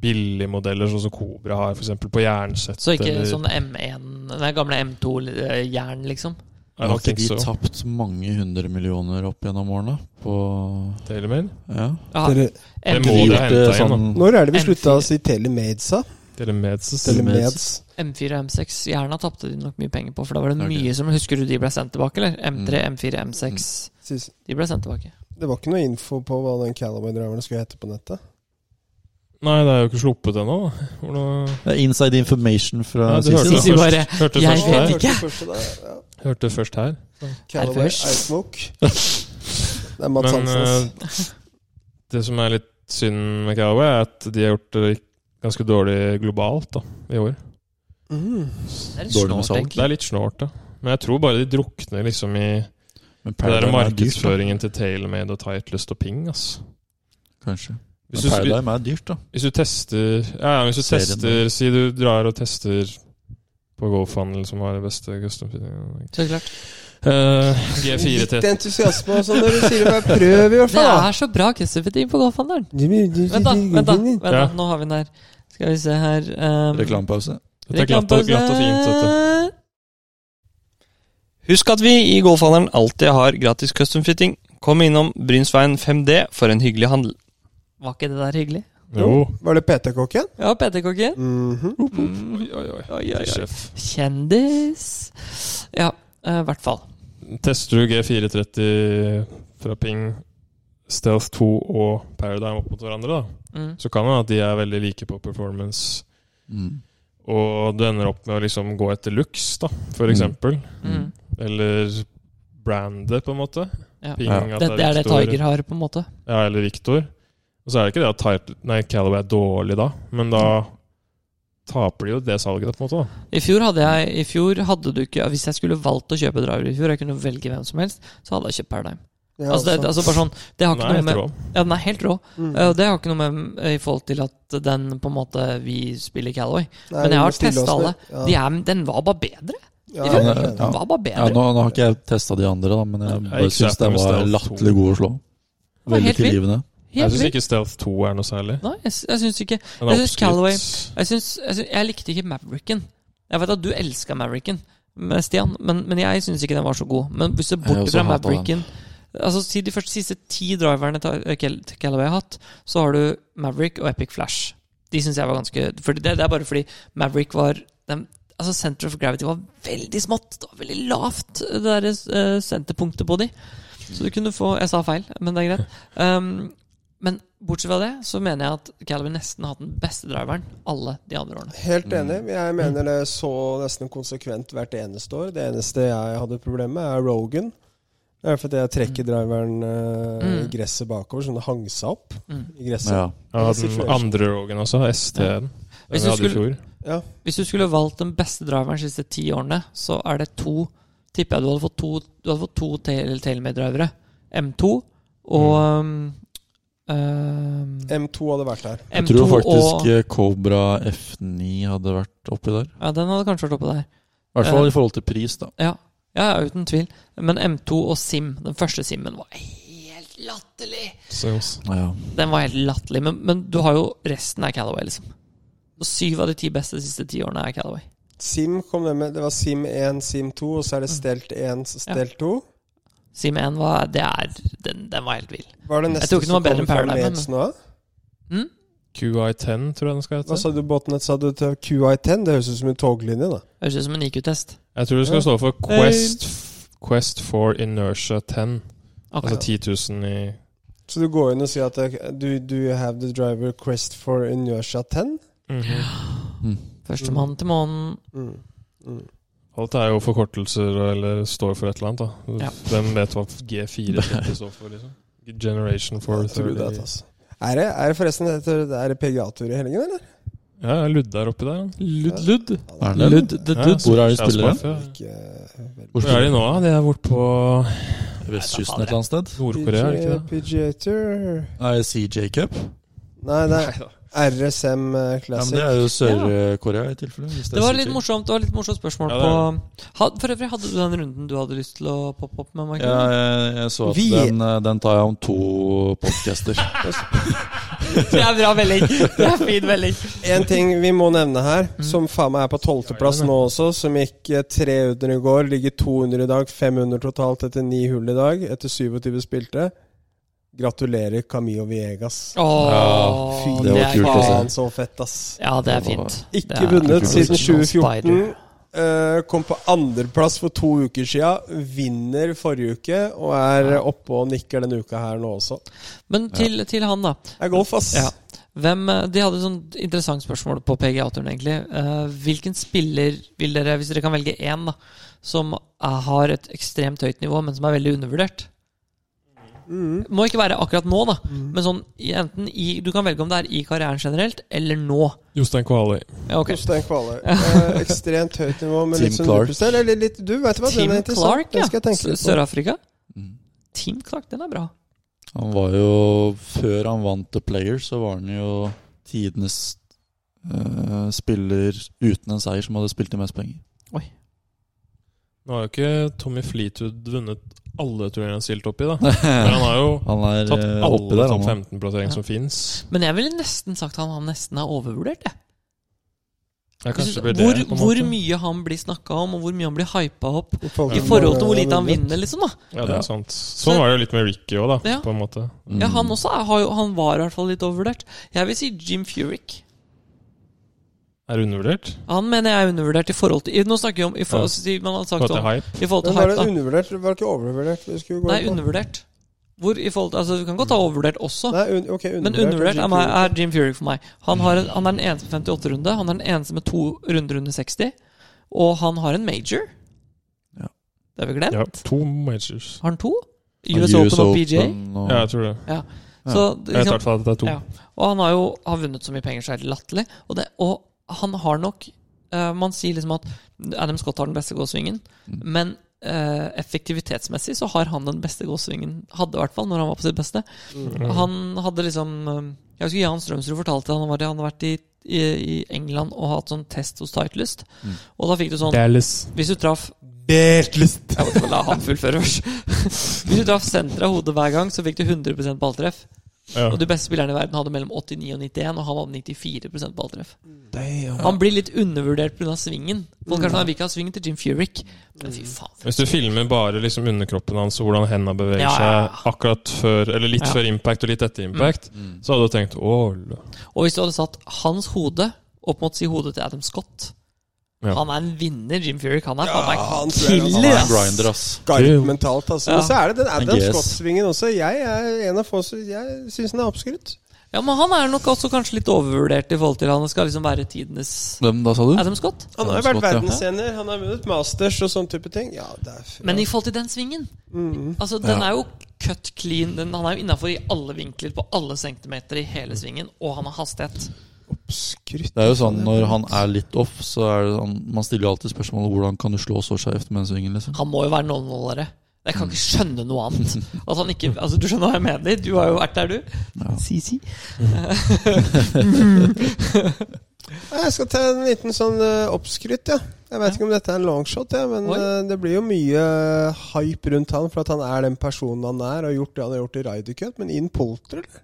C: billigmodeller, sånn som Cobra har, f.eks. på jernsett.
B: Så ikke sånn-
C: eller-
B: sånne M1 Nei, gamle M2-jern, liksom.
C: I
D: Har
C: don't
D: ikke
C: think
D: de
C: so.
D: tapt mange hundre millioner opp gjennom årene? På
C: Tailormade?
D: Ja.
B: Ja,
A: Dere,
B: M-
C: Det må
D: De
C: du
D: gjort
C: hente
D: det sånn
C: igjen, da.
A: når er det vi
B: M4.
A: slutta å si Telemades, da?
C: Tailormade, så
A: Telemades.
B: M4 og M6 Jerna tapte de nok mye penger på, for da var det
D: Ok.
B: mye som Husker du de ble sendt tilbake, eller? M3, M4, M6
A: Sys-
B: De ble sendt tilbake.
A: Det var ikke noe info på hva den Calamay-driveren skulle hete på nettet.
C: Nei, det er jo ikke sluppet ennå. da. Hvordan...
D: Det er inside information fra
C: Nei, du
D: Sissel.
C: hørte
B: Sisi
C: det
B: bare,
C: først, hørte det
B: jeg
C: først
B: vet
C: her.
B: ikke.
A: Første der, ja.
C: Hørte det først her.
A: Callaway
B: først.
A: Ice
D: <laughs>
A: Smoke. Det er Mads
C: Men
A: Hansen. ass.
C: eh, det som er litt synd med Callaway, er at de har gjort det ganske dårlig globalt da, i år.
A: Mm.
B: Det er litt
D: Dårlig med
B: snålt,
D: salg.
B: egentlig.
C: Det er litt snålt, da. Men jeg tror bare de drukner liksom i
D: Men
C: det der
D: Paradigm er dyrt, da.
C: markedsføringen til Tailmade og Titleist og Ping. ass.
D: Kanskje.
C: Hvis
D: Men
C: du,
D: Paradigm er dyrt, da.
C: hvis du tester ja, ja, hvis du
D: Serien,
C: tester, Si du drar og tester på GoFundel, som har det beste custom fitting Eh,
B: Så klart.
C: G4 til
A: Litt entusiasme og sånn når du sier det, men prøv i hvert
B: Det
A: fall. da.
B: er så bra custom-fitting på golfhandelen! Vent, da. vent da, vent
A: Hva
B: da,
C: Ja.
B: Nå har vi den her. Skal vi se her um,
D: Reklamepause.
C: Dette er glatt og, glatt og fint. Dette.
E: Husk at vi i Golfhandelen alltid har gratis custom fitting. Kom innom Brynsveien 5D for en hyggelig handel.
B: Var ikke det der hyggelig?
C: Jo.
A: Var det PT-kokken?
B: Ja, PT-kokken.
A: Mhm.
B: Mm.
C: Oi, oi, oi.
B: Oi, oi, oi.
C: Sjef.
B: Kjendis. Ja, eh, i hvert fall.
C: Tester du G430 fra Ping, Stealth 2 og Paradigm opp mot hverandre, da,
B: Mm.
C: så kan det være at de er veldig like på performance.
D: Mm.
C: Og du ender opp med å liksom gå etter looks, da, for
D: Mm.
C: eksempel.
B: Mm.
C: Eller brandet, på en måte.
B: Ja.
C: Ping,
D: Ja.
C: at
B: Dette er det
C: Victor-
B: Tiger har, på en måte.
C: Ja, eller Victor. Og så er det ikke det at Title- nei, Callaway er dårlig da, men da taper de jo det salget, da, på en måte. da.
B: I fjor hadde jeg I fjor hadde du ikke Hvis jeg skulle valgt å kjøpe driver i fjor, jeg kunne velge hvem som helst, så hadde jeg kjøpt Paradigm.
A: Ja,
B: Altså, det,
A: altså.
B: altså bare sånn Det har ikke
C: Nei,
B: noe med
C: jeg tror
B: Ja, den er helt rå.
A: Mm.
B: Eh, Og det har ikke noe med eh, i forhold til at den på en måte Vi spiller Calaway.
A: Nei,
B: men jeg
A: vi må
B: har
A: stille oss
B: testet alle.
A: ned. Ja.
B: De er, den var bare bedre.
A: Ja,
B: de-
A: det er det.
D: Ja.
B: Den var bare
D: Ja,
B: bedre.
D: nå, nå har ikke jeg testa de andre, da, men jeg
C: Jeg
D: bare
C: gikk
D: syns
C: Stealth
D: den
C: med
D: var
C: Stealth
D: latterlig god å slå.
B: Den var
D: Veldig
B: helt vill.
D: tilgivende.
C: Jeg
B: Helt
C: syns
B: vilt.
C: ikke Stealth 2 er noe særlig.
B: Nei, jeg, sy- jeg syns ikke
C: Den er
B: Jeg synes
C: oppskrytt.
B: Callaway- Jeg, syns, jeg, syns, jeg likte ikke Mavericken. Jeg vet at du elska Mavericken, men- Stian, men, men jeg syns ikke den var så god. Men hvis du ser
D: Jeg
B: bort
D: også
B: fra
D: hatet den.
B: Mavericken Altså Si de første siste ti driverne til Cal- til Callaway har hatt, så har du Maverick og Epic Flash. De syns jeg var ganske for det, det er bare fordi Maverick var den, Altså Center of Gravity var veldig smått. Det var veldig lavt, det der eh, senterpunktet på de. Så du kunne få Jeg sa feil, men det er
D: <laughs>
B: greit. Um, men bortsett fra det, så mener jeg at Calvin nesten har hatt den beste driveren alle de andre årene.
A: Helt enig.
B: Mm.
A: Jeg mener det så nesten konsekvent hvert eneste år. Det eneste jeg hadde problem med, er Rogan. Det er fordi jeg trekker driveren eh, i
B: Mm.
A: gresset bakover, så den hang seg opp
B: Mm.
A: i gresset.
D: Ja.
C: Ja, den andre Rogan også, ST-en. Den
B: Hvis
C: vi
B: du
C: hadde i
B: skulle-
C: fjor.
A: Ja.
B: Hvis du skulle valgt den beste driveren de siste ti årene, så er det to Tipper jeg du hadde fått to Du hadde fått to Tailmade-drivere. M2 og um, Eh,
A: M2 hadde vært der.
D: Mm. Jeg
B: M2
D: tror faktisk
B: og
D: eh, Cobra F9 hadde vært oppi der.
B: Ja, den hadde kanskje vært oppe der.
D: I hvert fall i forhold til pris, da.
B: Ja, ja ja, uten tvil. Men M2 og Sim, den første Simen, var helt latterlig!
C: Sales.
D: Ja.
B: Den var helt latterlig. Men, men du har jo resten er Calaway, liksom. Og syv av de ti beste de siste ti årene er Calaway.
A: Sim kom det med. Det var Sim 1, Sim 2, og så er det
B: Mm.
A: stelt 1, stelt 2.
B: Sim 1 var Det er Den, den var helt vill.
A: Var det
B: tror
A: neste
B: ikke den
A: som
B: var
A: kom
B: bedre enn
A: fra
B: Paradigm, men-
A: Nedsen òg?
C: QI10 tror jeg den skal
A: Hva
C: hete.
A: sa du båten het? Sa du til QI10? Det høres ut som en toglinje, da.
B: Høres ut som en IQ-test.
C: Jeg tror det skal stå for Quest, Quest for Inertia 10.
B: Ok.
C: Altså 10 000 i
A: Så du går inn og sier at eh, do, do you have the driver quest for Inertia 10?
B: Mhm.
D: Mm.
B: Førstemann til månen.
A: Mm. Mm.
C: Alt er jo forkortelser eller står for et eller annet. da
B: Ja.
C: Hvem vet hva G4 står for? liksom Generation for
A: Jeg tror det,
C: 30
A: altså. Er det, er det forresten heter, det er det PGA-tur i helgen, eller?
C: Ja, Ludd er oppi der. da.
E: Ludd, ludd.
D: Er den det?
E: Ludd, the
C: Ja,
E: dudd.
D: Hvor er de
C: Charles
D: spillere?
C: Buff, ja.
A: Ikke, eh, veldig.
D: Hvor
C: Hvor er de nå? da? De er borte på
D: Vestkysten et eller annet sted?
C: Nord-Korea, er det ikke det?
A: PGA Tour
D: Nei, CJ Cup?
A: Nei, det er RSM eh,
D: Ja, men
A: Classic.
D: det er jo Sør-Korea i tilfelle. hvis
B: Det var
D: CJ.
B: litt morsomt det var litt morsomt spørsmål
C: Ja, det er
B: på Had- For øvrig, hadde du den runden du hadde lyst til å poppe opp med? Michael?
D: Ja, jeg, jeg så at
A: Vi-
D: den, eh, den tar jeg om to podcaster.
B: <laughs> Det er bra melding! Det er fin melding.
A: En ting vi må nevne her, som faen meg er på tolvteplass nå også, som gikk eh, 300 i går, ligger 200 i dag, 500 totalt etter ni hull i dag, etter 27 spilte. Gratulerer Camillo Viegas.
B: Åh,
D: Ja,
A: det altså.
D: var
B: er
D: kult å se.
A: Faen så fett, ass.
B: Ja, det er fint. altså. Det
A: Ikke
B: er- altså.
A: vunnet siden
B: Spider.
A: 2014. eh, kom på andreplass for to uker sia. Vinner forrige uke og er eh, oppe og nikker denne uka her nå også.
B: Men til, til han, da.
A: Det er golf, ass.
B: Ja. Hvem, eh, de hadde et sånt interessant spørsmål på PGA-turen, egentlig. Eh, hvilken spiller vil dere, hvis dere kan velge én, da, som eh, har et ekstremt høyt nivå, men som er veldig undervurdert? Må ikke være akkurat nå, da.
A: Mm.
B: Men sånn i- enten i Du kan velge om det er i karrieren generelt, eller nå.
C: Jostein Kvaløy.
B: Ja, ok.
A: Jostein
B: <laughs>
A: Kvale. Eh, ekstremt høyt nivå, men
D: Team
A: litt sånn
D: Clark.
A: lukkestell. Eller litt Du, vet du hva,
B: Team
A: den er interessant.
B: Clark, ja.
A: Den skal jeg tenke
B: S-
A: litt på.
B: Sør-Afrika.
D: Mm.
B: Team Clark, den er bra.
D: Han var jo Før han vant The Player, så var han jo tidenes eh, spiller uten en seier som hadde spilt i mest penger.
C: Nå har jo ikke Tommy Fleetwood vunnet alle turneringene han stilte opp i, da. Men
D: han
C: han har jo
D: er
C: tatt
D: eh, oppi
C: alle
D: der,
C: topp
D: han.
C: 15-plassering som fins.
B: Men jeg ville nesten sagt han, han nesten er overvurdert, jeg.
C: Ja, kanskje det blir
B: hvor,
C: det. på en
B: hvor
C: måte.
B: mye han blir snakka om, og hvor mye han blir hypa opp
A: I
B: i forhold til hvor lite han vinner, liksom. da
C: Ja, det
D: Ja.
C: er sant. Sånn var det jo litt med Ricky òg, da.
B: Ja.
C: På en måte.
D: Mm.
B: Ja, han også er, har jo, han var i hvert fall litt overvurdert. Jeg vil si Jim Furyk.
C: Er det undervurdert?
B: Han mener jeg er undervurdert i forhold til i- Nå snakker vi om i forhold,
C: Ja.
B: si- man har
C: For
B: sagt
C: at det er
B: om,
C: hype?
B: i forhold til
A: Men var
B: hype,
A: det
B: da.
A: undervurdert? Det var ikke overvurdert? Vi skulle gå
B: Nei,
A: inn på.
B: undervurdert. Hvor i forhold til, altså Du kan godt ta overvurdert også,
A: Nei, un ok, undervurdert.
B: men undervurdert er,
A: GQ.
B: meg, er Jim Furyk for meg. Han, har en, han er den eneste med 58-runde. Han er den eneste med to runder under 60. Og han har en major.
D: Ja.
B: Det har vi glemt.
C: Ja, to majors.
B: Har han to? US, Open og PGA.
D: og-
C: Ja, jeg tror det.
B: Så,
C: Jeg vet i
B: liksom,
C: hvert fall at det er to.
B: Ja. Og han har jo har vunnet så mye penger, så er det latterlig. Og, det, og han har nok eh, Man sier liksom at Adam Scott har den beste gåsvingen, men eh, effektivitetsmessig så har han den beste gåsvingen. Hadde i hvert fall, når han var på sitt beste. Han hadde liksom eh, Jeg husker Jan Strømsrud fortalte han, var, han hadde vært i, i, i England og hatt sånn test hos Titleist. Og da fikk du sånn
C: Dallas.
B: Hvis du traff
A: Bertlist.
B: jeg måtte vel la han fullføre først. <laughs> Hvis du traff senteret av hodet hver gang, så fikk du 100 balltreff.
C: Ja.
B: Og de beste spillerne i verden hadde mellom 89 og 91, og han hadde 94 balltreff. Han blir litt undervurdert pga. svingen. Folk kanskje han vil ikke ha svingen til Jim Furyk. Men fy faen.
C: Hvis du filmer bare liksom underkroppen hans og hvordan hendene beveger
B: Ja, ja, ja.
C: seg akkurat før, eller litt
B: Ja. Mm.
C: før impact og litt etter impact,
D: Mm.
C: så hadde du tenkt Å, la."
B: Og hvis du hadde satt hans hode opp mot si hodet til Adam Scott
C: Ja.
B: Han er en vinner, Jim Furyk. Han er faen
A: han
B: meg
A: tror jeg
D: Han
B: killer,
D: er en
B: ass!
D: grinder, ass.
A: Skarp mentalt, altså.
B: Ja.
A: Men så er det den Adam
D: Yes.
A: Scott-svingen også. Jeg er en av få som Jeg syns den er oppskrytt.
B: Ja, men han er nok også kanskje litt overvurdert i forhold til han skal liksom være tidenes
D: Hvem da, sa du?
B: Adam Scott.
A: Han har jo
D: Adam
A: vært
D: Scott, ja.
A: verdensener, han har vunnet masters og sånn type ting. Ja, det er
B: Men i forhold til den svingen
A: Mm.
B: Altså, den er jo cut clean. Den, han er jo innafor i alle vinkler, på alle centimeter i hele svingen, og han har hastighet.
A: oppskrytt.
D: Det er jo sånn når han er litt off, så er det sånn Man stiller jo alltid spørsmålet hvordan kan du slå så skjevt med en svingen, liksom.
B: Han må jo være 0-0-ere. Jeg
D: Mm.
B: kan ikke skjønne noe
D: <laughs>
B: annet. At han ikke, altså Du skjønner hva jeg mener? Du har jo vært der, du.
D: Ja.
B: Sisi.
A: Jeg skal ta en liten sånn eh, oppskrytt, ja. Jeg vet ikke om dette er en longshot, ja, men
B: Oi.
A: eh, det blir jo mye eh, hype rundt han for at han er den personen han er, og har gjort det han har gjort i Ryder Cup, men inn polter, eller?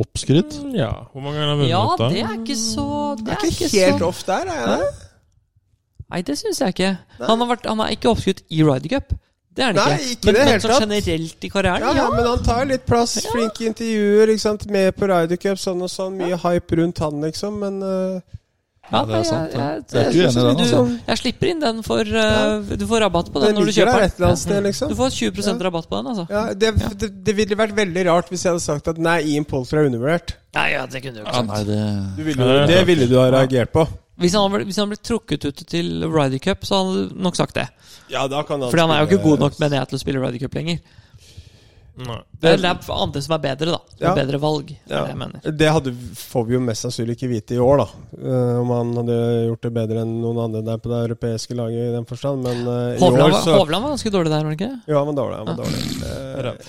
D: Oppskrytt?
C: Ja, Hvor mange ganger har han
B: Mm, Ja,
C: vunnet, da?
B: det er ikke så Det
A: Jeg
B: er ikke
A: helt
B: så
A: off der, er jeg det?
B: Nei, det syns jeg ikke. Han har, vært, han er ikke oppskutt i Ryder Cup. Det er han
A: Nei,
B: ikke.
A: ikke
B: men
A: det
B: men
A: helt
B: sånn
A: tatt.
B: generelt i karrieren,
A: Ja,
B: ja.
A: ja, men han tar litt plass. Flinke intervjuer, ikke sant. Med på Ryder Cup, sånn og sånn. Mye hype rundt han, liksom. Men eh,
B: Ja,
D: Ja, det er
B: nei,
D: sant,
B: Jeg,
D: ja.
B: jeg,
D: Jeg er ikke
B: jeg,
D: uenig i den,
B: du,
D: altså.
B: jeg slipper inn den for uh, Du får rabatt på den
A: den
B: når du
A: ligger
B: kjøper
A: der
B: den. Mm.
A: et eller annet sted, liksom.
B: Du får 20 rabatt på den, altså.
A: Ja, det, det, det ville vært veldig rart hvis jeg hadde sagt at nei, Ian Polter er undervurdert.
B: Nei, ja, det kunne du ikke
D: Ja, nei, det
A: Du ville
C: Eh,
A: jo- det ville du ha reagert på.
B: Hvis han, ble- hvis han ble trukket ut til Ryder Cup, så hadde han nok sagt det.
A: Ja, da kan
B: Fordi han er jo ikke god nok, mener jeg, til å spille Ryder Cup lenger.
C: Nei.
B: Det er lab for andre som er bedre, da. Som
A: Ja.
B: er Bedre valg, er
A: Ja.
B: det jeg mener.
A: Det hadde, får vi jo mest sannsynlig ikke vite i år, da. Eh, om han hadde gjort det bedre enn noen andre der på det europeiske laget i den forstand, men eh, i
B: Hovland Ah.
A: år
B: var,
A: så
B: Hovland var ganske dårlig der, var han ikke? det?
A: Jo, han var dårlig. Han var dårlig.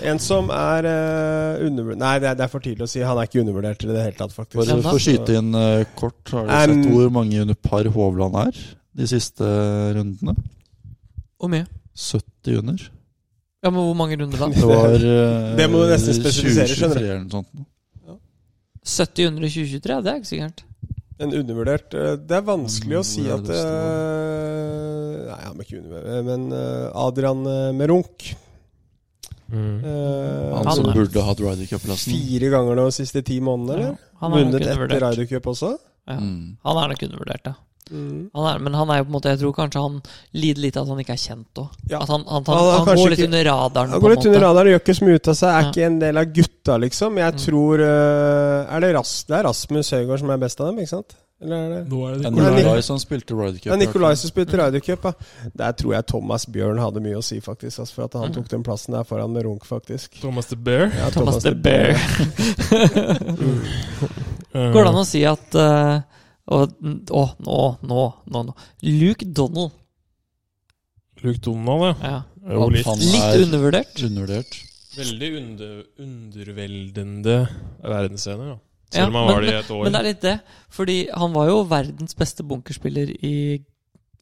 A: Eh, en som er uh, undervurdert Nei, det er, det er for tidlig å si. Han er ikke undervurdert i det hele tatt, faktisk.
D: Bare for å skyte inn eh, kort, har du
A: Um,
D: sett hvor mange under par Hovland er de siste eh, rundene?
B: Hvor mye?
D: 70 under.
B: Ja, men hvor mange runder da?
A: <laughs>
D: Det var eh,
A: Det må du nesten spesifisere,
D: 20-23
A: skjønner du.
D: eller noe sånt.
B: 70 under i 2023? Det er ikke sikkert.
A: En undervurdert eh, Det er vanskelig å si
D: Hvor er
A: at
D: Mm, det
A: eh, Nei, han er ikke undervurdert, men eh, Adrian eh, Merunk
C: Mm.
A: eh,
D: Han
B: Han
D: som
B: er-
D: burde hatt Ryder Cup-plassen.
A: Fire ganger nå de siste ti månedene,
B: Ja,
A: eller?
B: han er nok
A: Vunnet etter
B: undervurdert.
A: Ryder Cup også?
B: Ja.
D: Mm.
B: Han er nok undervurdert, ja. Han er, men han er jo på en måte Jeg tror kanskje han lider litt av at han ikke er kjent òg.
A: Ja.
B: At han,
A: Han
B: han, han,
A: har
B: han
A: kanskje
B: går litt
A: ikke-
B: under radaren,
A: Han
B: på
A: går
B: en
A: litt under
B: måte.
A: radaren, gjør ikke så mye ut av seg. Er
B: Ja. Mm.
A: ikke en del av gutta, liksom. Jeg tror eh, Er det, Ras det er Rasmus Høygaard som er best av dem, ikke sant? Eller er det
C: Nå er
D: Det
C: det
D: er
A: Nikolai-
D: Nikolai som spilte Ryder Cup.
A: Det er Nikolai som spilte Ryder Cup. Ja. Der tror jeg Thomas Bjørn hadde mye å si, faktisk. Altså, for at han tok den plassen der foran med Runk, faktisk.
C: Thomas the Bear.
A: Ja,
B: Mm. Thomas the Bear.
C: Eh,
B: <laughs> Går det an å si at eh, og, å, nå, nå, nå, nå. Luke Donald.
C: Luke Donald, ja.
B: Ja.
C: Jo, litt.
D: Han
B: Litt
D: er
B: undervurdert.
D: undervurdert.
C: Veldig under, underveldende verdensscene, ja.
B: Ja,
C: Selv om han
B: men-
C: var det i et år.
B: Men det er litt det. Fordi han var jo verdens beste bunkerspiller i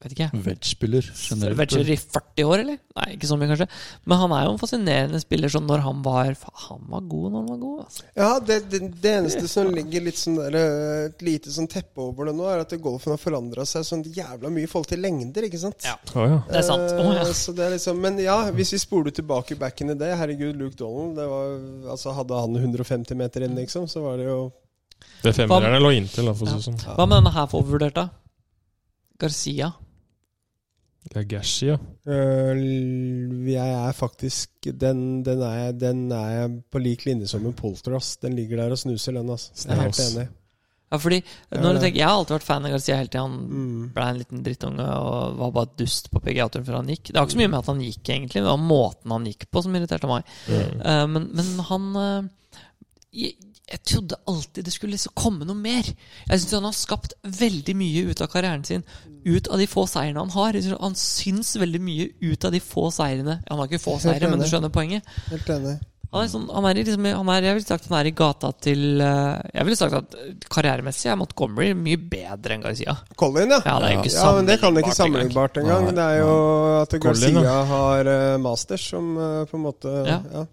B: Vet ikke jeg.
D: Wedge-spiller generelt.
B: Vetcher i 40 år, eller? Nei, ikke så mye, kanskje. Men han er jo en fascinerende spiller sånn når han var Faen, han var god når han var god. Altså.
A: Ja, det, det, det eneste som ligger litt sånn der, eh, et lite sånn teppe over det nå, er at golfen har forandra seg sånn jævla mye i forhold til lengder, ikke sant?
B: Ja.
C: Å, ja.
B: Det er sant. Å, ja.
A: Eh, Så det er liksom, men ja, hvis vi spoler tilbake back in the day Herregud, Luke Donald det var, altså Hadde han 150 meter inn, liksom, så var det jo
C: Det femmerne lå inntil, da, for å si det sånn.
B: Hva med denne her for overvurdert, da? Garcia.
C: Det er Gashi, ja.
A: øh, l- Jeg er faktisk Den, den, er, jeg- den er jeg på lik linje som en polter, ass. Den ligger der og snuser, den. ass Jeg er helt
C: Snaus.
A: enig.
B: Ja, fordi
A: Ja,
B: når du
A: det-
B: tenker, Jeg har alltid vært fan av Garcia helt til han
A: Mm.
B: ble en liten drittunge og var bare dust på PGA-turen før han gikk. Det var ikke så mye med at han gikk, egentlig. Det var måten han gikk på som irriterte meg.
C: Mm.
B: Eh, men, men han eh, jeg, jeg trodde alltid det skulle liksom komme noe mer. Jeg syns han har skapt veldig mye ut av karrieren sin. Ut av de få seirene han har. Jeg synes Han syns veldig mye ut av de få seirene. Han har ikke få
A: Helt
B: seire, men du
A: enig.
B: skjønner poenget.
A: Helt enig.
B: Han er sånn, han er i liksom, han er, jeg ville sagt han er i gata til eh, Jeg ville sagt at eh, karrieremessig er Montgomery mye bedre enn Garcia.
A: Colin, ja.
B: Ja, det er jo ikke
A: Ja, men Det kan ikke
B: sammenlignbart engang.
A: sammenlignbart engang.
D: Nei,
A: Det er jo at
C: Colin,
A: Garcia
C: da.
A: har eh, masters som eh, på en måte
B: Ja.
A: ja.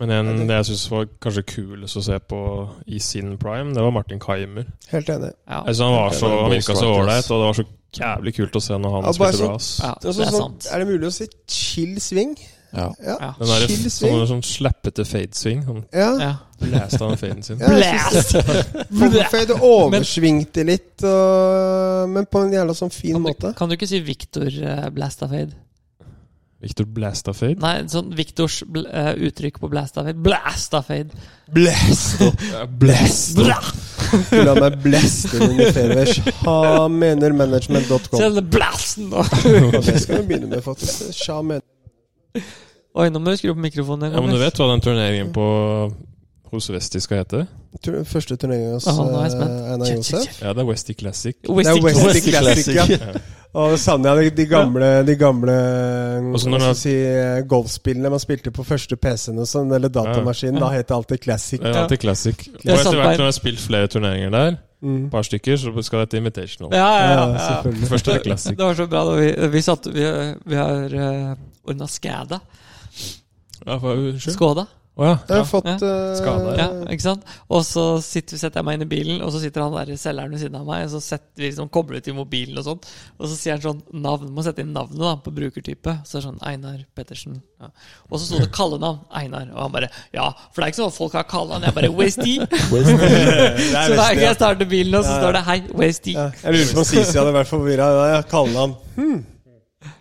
C: Men en det jeg syns var kanskje kulest å se på i sin prime, det var Martin Keimer.
A: Helt enig.
B: Ja,
C: Jeg synes Han var så, han virka så ålreit, og det var så jævlig kult å se når han
A: Ja, bare
C: spilte bra.
A: sånn-
C: ass.
B: ja,
A: Og
B: det
A: så-
B: er
A: sånn,
B: sant.
A: er det mulig å si chill sving?
D: Ja.
A: Ja.
B: Ja.
C: Den der,
A: Chill
C: sånn,
A: sving.
C: sånn slappete fade-sving. Han
A: Ja.
B: Ja.
C: blæste av faden
A: <laughs>
C: sin.
A: Ja, jeg synes-
B: Blast! <laughs>
A: Fomfei, det oversvingte litt, og, men på en jævla sånn fin måte.
B: Kan du ikke si Victor eh, Blastafade?
C: Victor blæsta
B: <laughs>
C: fade.
B: Nei, sånn Victors bl eh, uttrykk på Blastafade. Blastafade!
C: Blæst!
B: Bra!
A: La meg blæste den i fairways. Ha mener management.com.
B: Se den blasten nå! <laughs>
A: Og Det skal vi begynne med, faktisk. Sja mener
B: Oi, nå må du skru på mikrofonen. en
C: Ja,
B: gang,
C: men du
B: ass.
C: vet hva den turneringen på hos Westi skal hete?
A: Tur- Første turnering hos
B: Å, nå er jeg
A: eh,
B: spent.
A: Einar
B: Shit, shit,
A: Josef.
B: shit.
C: Ja, det er Westy Classic.
A: Det er
B: Westy
A: Westy
B: Classic.
A: Classic, ja.
C: Ja.
A: Og det savner jeg de, de gamle, de gamle hva
C: Og så når
A: skal
C: det-
A: jeg si, eh, golfspillene man spilte på første PC-en og sånn, eller datamaskinen. Da het det alltid Classic.
C: Det er alltid classic. Og
B: Jeg
C: etter
B: satt
C: hvert
B: der.
C: når jeg har spilt flere turneringer der,
A: Mm.
C: et par stykker, så skal det hete Invitational.
B: Ja, ja, ja, ja.
A: selvfølgelig.
C: Først er det classic.
B: Det var så bra da vi, vi satt Vi, eh, vi har uh, ordna skada.
C: Ja, for, unnskyld.
B: Skåda.
C: Å ja.
A: Jeg har fått
B: Ja.
A: eh,
C: Skade.
B: Ja, ikke sant? Og så sitter, setter jeg meg inn i bilen, og så sitter han der selgeren ved siden av meg, og så setter vi liksom kobler til mobilen og sånn, og så sier han sånn navn, må sette inn navnet da, på brukertype, så er det sånn Einar Pettersen. Ja. Og så sto det kallenavn, Einar, og han bare, ja, for det er ikke sånn at folk har kallenavn, jeg bare, Wasty. Så hver gang jeg starter bilen, og så står det, hei, Wasty.
A: Ja, Jeg lurer på om Sisi hadde vært forvirra. Jeg kaller han hmm.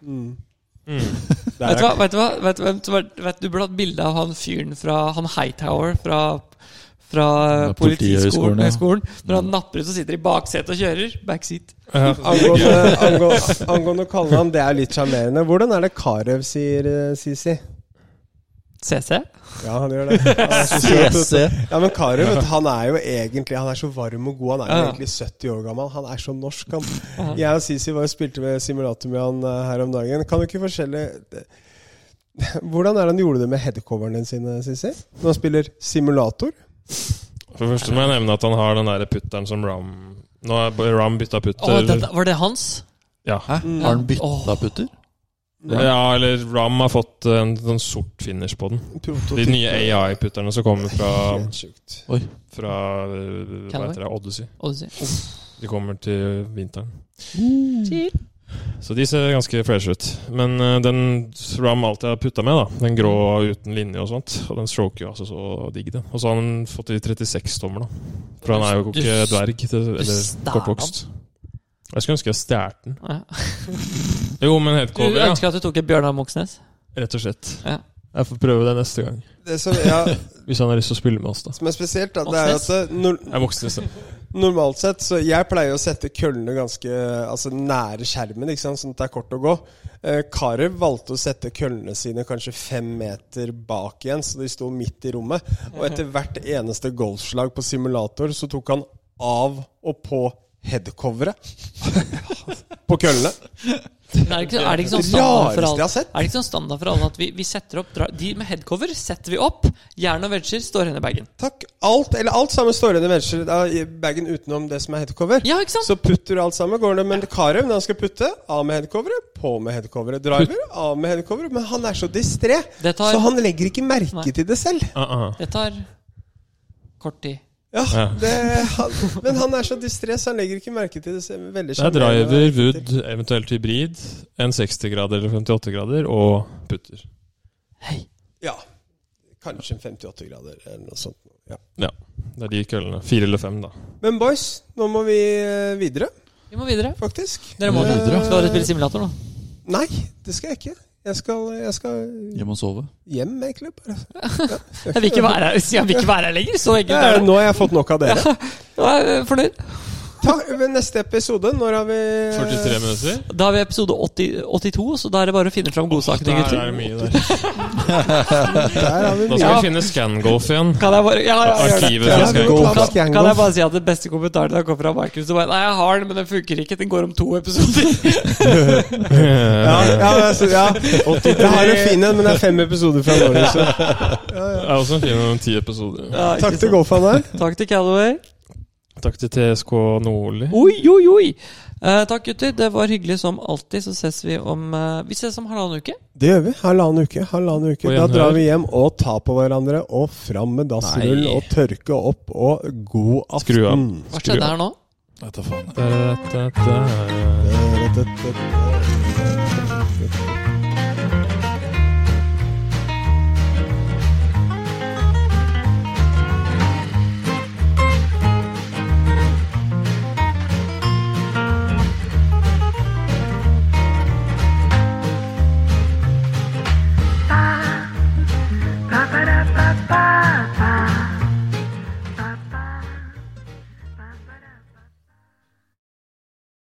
A: Mm. Der
B: Hmm. Vet du
A: er-
B: hva, vet du hva, vet du hvem som var- vet, du burde hatt bilde av han fyren fra Han Hightower fra, fra
D: Ja,
B: Politihøgskolen.
D: Politihøgskolen, ja.
B: høgskolen. Når han napper ut og sitter i baksetet og kjører. Backseat. <laughs>
A: Angående, angående, angående å kalle han, det er litt sjarmerende. Hvordan er det Karev sier eh, Sisi?
B: CC.
A: <laughs> Ja, han gjør det. Han er så søt, vet du.
D: CC.
A: Ja, men Karev vet du, han er jo egentlig Han er så varm og god. Han er jo
B: Ja.
A: egentlig 70 år gammel. Han er så norsk, han. Jeg og Sisi var og spilte med simulator med han eh, her om dagen. Kan du ikke forskjellig Hvordan er det han gjorde det med headcoverne sine, Sisi? Når han spiller simulator?
C: For det første må jeg nevne at han har den der putteren som Ram Nå har Ram bytta putter.
B: Å, dette, var det hans?
C: ja.
D: Hæ?
B: Mm.
D: Har han bytta
B: Åh.
D: putter?
C: ja, eller Ram har fått en sånn sort finish på den. De nye AI-putterne som kommer fra,
A: <laughs> Helt sjukt.
D: Oi.
C: fra eh, hva
B: Callaway?
C: heter det, Odyssey.
B: Å, du sier.
C: De kommer til vinteren.
B: Chill.
C: Så de ser ganske freshe ut. Men eh, den Ram alltid har putta med, da, den grå uten linje og sånt, og den stroker jo altså så digg, den. Og så har han fått i 36 tommer, da. For han er jo
B: Du-
C: ikke dverg, til-
B: stjal
C: eller kortvokst. Jeg skulle ønske jeg stjal den.
B: Ja.
C: Jo, men
B: Du
C: headcover, ja.
B: ønsker at du tok et Bjørnar Moxnes?
C: Rett og slett.
B: Ja.
C: Jeg får prøve det neste gang.
A: Det som, ja,
C: Hvis han har lyst til å spille med oss, da.
A: som er spesielt, da, det er at det- nor
C: Jeg er voksen i sted.
A: normalt sett Så jeg pleier å sette køllene ganske altså, nære skjermen, ikke sant? sånn at det er kort å gå. Eh, Karev valgte å sette køllene sine kanskje fem meter bak igjen, så de sto midt i rommet. Og etter hvert eneste golfslag på simulator så tok han av og på headcoveret <laughs> på køllene.
B: Men Er det ikke, er det ikke
A: Det
B: sånn standard for
A: rareste
B: alle,
A: jeg har sett.
B: Er det ikke sånn standard for alle at vi, vi setter opp dra, De med headcover setter vi opp. Jern og wedger står igjen i bagen.
A: Takk. Alt eller alt sammen står igjen i venstre da, i bagen utenom det som er headcover.
B: Ja, ikke sant?
A: Så putter du alt sammen, går det Men Karev, når han skal putte, av med headcoveret, på med headcoveret. Driver, av med headcoveret. Men han er så distré,
B: Det tar-
A: så han legger ikke merke
B: Nei.
A: til det selv.
C: Ah, ah.
B: Det tar kort tid.
A: Ja,
C: Ja.
A: det, han, Men han er så distré, så han legger ikke merke til det selv. Veldig
C: Det er
A: sjarmerende.
C: driver, wood, eventuelt hybrid, en 60-grader eller 58-grader og putter.
B: Hei.
A: Ja. Kanskje en 58 grader eller noe sånt. Ja.
C: Ja. Det er de køllene. Fire eller fem, da.
A: Men boys, nå må vi eh, videre,
B: Vi må videre.
A: faktisk.
B: Dere må
A: Eh,
B: videre. Skal dere spille simulator nå?
A: Nei, det skal jeg ikke. Jeg skal, jeg skal
D: Hjem og sove?
A: hjem, egentlig. bare
B: Jeg vil ikke være her, jeg vil ikke være her lenger. Så enkelt
A: Ja,
B: er det.
A: Eh, nå har jeg fått nok av dere.
B: Nå er jeg fornøyd.
A: Ta, ved neste episode, når har vi
C: 43 minutter.
B: Da er vi i episode 80, 82, så da er det bare å finne fram godsakene,
C: Der
B: gutter.
C: er det mye der.
A: Der har vi
C: Da skal
A: mye.
C: vi finne
B: <laughs>
C: Scangolf igjen.
B: Kan jeg bare, ja, ja, ja, gjør det.
C: Arkivet
A: Ja,
C: til Scangolf.
A: Golf
B: Kan,
A: Scangolf.
B: kan jeg bare si at det beste kommentaren da kom fra Markus så bare, Nei, jeg har den, men den funker ikke. Den går om to
A: <laughs>
B: episoder.
A: Ja, ja, det er så- ja. Jeg har en fin en, men det er fem episoder fra nå. Så.
C: Det er også en fin om ti episoder.
B: Ja,
A: Takk til
B: ikke sant?
A: golfhandleren.
B: Takk til Callaway.
C: Takk til TSK Nordli.
B: Oi, oi, oi! Eh, takk, gutter. Det var hyggelig som alltid. Så ses vi om eh, Vi ses om halvannen uke.
A: Det gjør vi. Halvannen uke. halvannen uke
C: Og
A: Da
C: gjenhør.
A: drar vi hjem og tar på hverandre. Og fram med dassrull
B: Nei.
A: og tørke opp. Og god aften.
C: Skru av.
B: Hva skjedde her nå?
D: Nei, ta faen.
C: Da, da, da, da.
A: av.